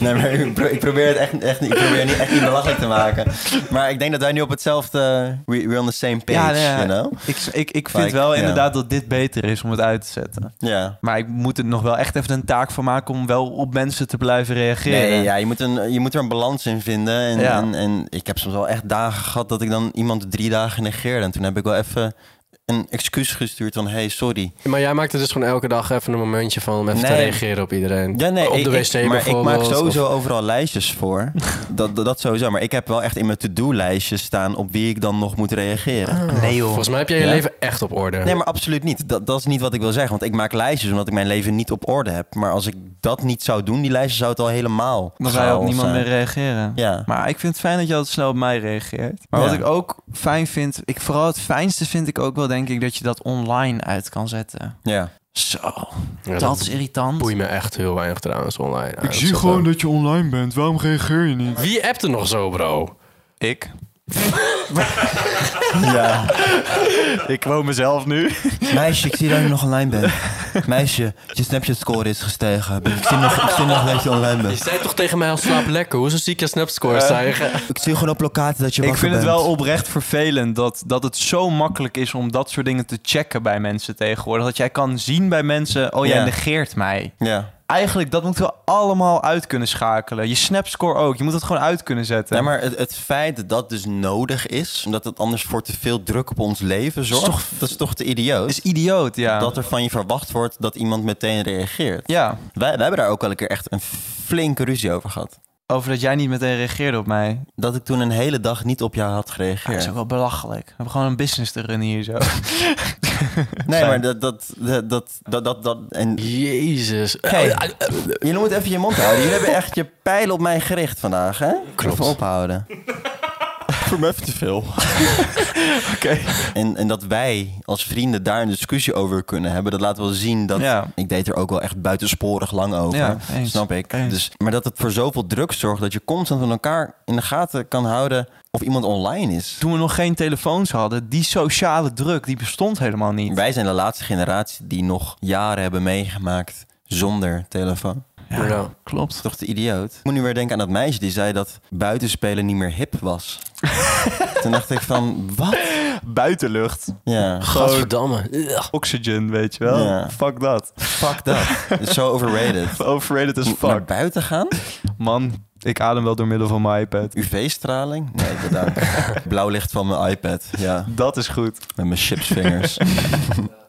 [SPEAKER 1] nee, maar ik, pro- ik probeer het echt, echt, niet- ik probeer niet, echt niet belachelijk te maken. Maar ik denk dat wij nu op hetzelfde... We, we're on the same page,
[SPEAKER 4] Ja, nee, ja.
[SPEAKER 1] you know?
[SPEAKER 4] Ik, ik, ik
[SPEAKER 1] Maar
[SPEAKER 4] vind
[SPEAKER 1] ik-
[SPEAKER 4] wel
[SPEAKER 1] ja.
[SPEAKER 4] inderdaad dat dit beter is om het uit te zetten.
[SPEAKER 1] Ja.
[SPEAKER 4] Maar ik moet er nog wel echt even een taak van maken om wel op mensen te blijven reageren.
[SPEAKER 1] Nee, ja, je, moet een, je moet er een balans in vinden. En,
[SPEAKER 4] Ja.
[SPEAKER 1] en, en ik heb soms wel echt dagen gehad dat ik dan iemand drie dagen negeerde. En toen heb ik wel even een excuus gestuurd van... hey, sorry.
[SPEAKER 3] Maar jij maakt er dus gewoon elke dag even een momentje van om even te
[SPEAKER 1] Nee.
[SPEAKER 3] reageren op iedereen.
[SPEAKER 1] Ja, nee,
[SPEAKER 3] op de
[SPEAKER 1] ik-
[SPEAKER 3] wc
[SPEAKER 1] ik, maar ik
[SPEAKER 3] bijvoorbeeld.
[SPEAKER 1] maak
[SPEAKER 3] of-
[SPEAKER 1] sowieso overal lijstjes voor. dat, dat, dat sowieso. Maar ik heb wel echt in mijn to-do-lijstje staan op wie ik dan nog moet reageren.
[SPEAKER 4] Nee, joh.
[SPEAKER 3] Volgens mij heb jij je
[SPEAKER 1] Ja?
[SPEAKER 3] leven echt op orde.
[SPEAKER 1] Nee, maar absoluut niet. Dat, dat is niet wat ik wil zeggen. Want ik maak lijstjes omdat ik mijn leven niet op orde heb. Maar als ik dat niet zou doen, die lijstjes, zou het al helemaal.
[SPEAKER 4] Dan zou je op
[SPEAKER 1] chaos
[SPEAKER 4] niemand meer
[SPEAKER 1] zijn.
[SPEAKER 4] reageren.
[SPEAKER 1] Ja.
[SPEAKER 4] Maar ik vind het fijn dat je altijd snel op mij reageert. Maar
[SPEAKER 1] Ja.
[SPEAKER 4] wat ik ook fijn vind, ik, vooral het fijnste vind ik ook wel denk ik dat je dat online uit kan zetten.
[SPEAKER 1] Ja.
[SPEAKER 4] Zo,
[SPEAKER 3] Ja,
[SPEAKER 4] dat, is irritant.
[SPEAKER 3] boeit me echt heel weinig trouwens online.
[SPEAKER 6] Ik zie gewoon dat je online bent. Waarom reageer je niet?
[SPEAKER 3] Wie appt er nog zo, bro?
[SPEAKER 4] Ik?
[SPEAKER 1] ja.
[SPEAKER 4] Ik woon mezelf nu.
[SPEAKER 1] Meisje, ik zie dat je nog online bent. Meisje, je Snapchat-score is gestegen. Ik zie nog, ik zie nog dat je online
[SPEAKER 3] Je
[SPEAKER 1] bent.
[SPEAKER 3] zei toch tegen mij al slaap lekker. Hoezo zie ik je snapscore stijgen?
[SPEAKER 1] Ik zie gewoon op locatie dat je
[SPEAKER 4] Ik
[SPEAKER 1] wakker
[SPEAKER 4] vind het
[SPEAKER 1] bent.
[SPEAKER 4] wel oprecht vervelend dat, dat het zo makkelijk is om dat soort dingen te checken bij mensen tegenwoordig. Dat jij kan zien bij mensen, oh jij
[SPEAKER 1] Ja.
[SPEAKER 4] negeert mij.
[SPEAKER 1] Ja.
[SPEAKER 4] Eigenlijk, dat moeten we allemaal uit kunnen schakelen. Je snapscore ook, je moet het gewoon uit kunnen zetten.
[SPEAKER 1] Ja, maar het, het feit dat dat dus nodig is, omdat het anders voor te veel druk op ons leven zorgt,
[SPEAKER 4] Is toch-
[SPEAKER 1] dat is toch te idioot?
[SPEAKER 4] Dat is idioot, ja.
[SPEAKER 1] Dat er van je verwacht wordt dat iemand meteen reageert.
[SPEAKER 4] Ja,
[SPEAKER 1] Wij, wij hebben daar ook wel een keer echt een flinke ruzie over gehad.
[SPEAKER 4] over dat jij niet meteen reageerde op mij.
[SPEAKER 1] Dat ik toen een hele dag niet op jou had
[SPEAKER 4] Ja, dat
[SPEAKER 1] gereageerd.
[SPEAKER 4] is ook wel belachelijk. We hebben gewoon een business te runnen hier zo.
[SPEAKER 1] nee, maar dat, dat, dat, dat, dat, dat, en...
[SPEAKER 3] Jezus.
[SPEAKER 4] Eh,
[SPEAKER 1] Hey, je moet even je mond houden. Jullie hebben echt je pijl op mij gericht vandaag, hè?
[SPEAKER 3] Klopt.
[SPEAKER 1] Even ophouden. Voor mij even te veel. Oké. En, en dat wij als vrienden daar een discussie over kunnen hebben, dat laat wel zien dat...
[SPEAKER 4] Ja.
[SPEAKER 1] Ik deed er ook wel echt buitensporig lang over.
[SPEAKER 4] Ja, eens.
[SPEAKER 1] snap ik.
[SPEAKER 4] Eens.
[SPEAKER 1] Dus, maar dat het voor zoveel druk zorgt dat je constant van elkaar in de gaten kan houden of iemand online is.
[SPEAKER 4] Toen we nog geen telefoons hadden, die sociale druk, die bestond helemaal niet.
[SPEAKER 1] Wij zijn de laatste generatie die nog jaren hebben meegemaakt zonder telefoon.
[SPEAKER 3] Ja. Ja.
[SPEAKER 4] Klopt.
[SPEAKER 1] Toch de idioot. Ik moet nu weer denken aan dat meisje die zei dat buitenspelen niet meer hip was. Toen dacht ik van, wat?
[SPEAKER 4] Buitenlucht,
[SPEAKER 1] Ja,
[SPEAKER 3] Gadverdamme.
[SPEAKER 4] oxygen, weet je wel.
[SPEAKER 1] Ja.
[SPEAKER 4] Fuck dat.
[SPEAKER 1] fuck dat. It's so overrated.
[SPEAKER 4] Overrated as
[SPEAKER 1] Naar
[SPEAKER 4] fuck.
[SPEAKER 1] buiten gaan?
[SPEAKER 4] Man, ik adem wel door middel van mijn iPad.
[SPEAKER 1] UV-straling? Nee, bedankt. Blauw licht van mijn iPad. Ja,
[SPEAKER 4] Dat is goed.
[SPEAKER 1] met mijn chipsvingers.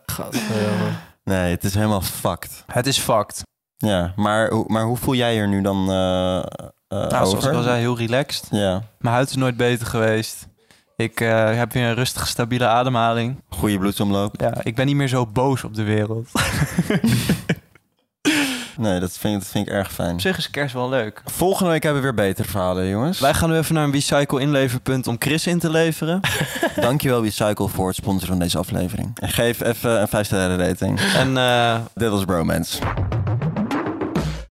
[SPEAKER 3] Gadverdamme.
[SPEAKER 1] Nee, het is helemaal fucked.
[SPEAKER 4] Het is fucked.
[SPEAKER 1] Ja, maar, hoe- maar hoe voel jij je er nu dan eh eh,
[SPEAKER 4] Nou,
[SPEAKER 1] over?
[SPEAKER 4] zoals ik al zei, heel relaxed.
[SPEAKER 1] Ja,
[SPEAKER 4] Mijn huid is nooit beter geweest. Ik eh, heb weer een rustige, stabiele ademhaling.
[SPEAKER 1] goede bloedsomloop.
[SPEAKER 4] Ja, ik ben niet meer zo boos op de wereld.
[SPEAKER 1] Nee, dat vind, ik- dat vind ik erg fijn.
[SPEAKER 4] Op zich is kerst wel leuk.
[SPEAKER 1] Volgende week hebben we weer betere verhalen, jongens.
[SPEAKER 4] Wij gaan nu even naar een recycle inleverpunt om Chris in te leveren.
[SPEAKER 1] Dankjewel Recycle voor het sponsoren van deze aflevering. En geef even een 5 sterren rating.
[SPEAKER 4] en eh,
[SPEAKER 1] Dit was Bromance.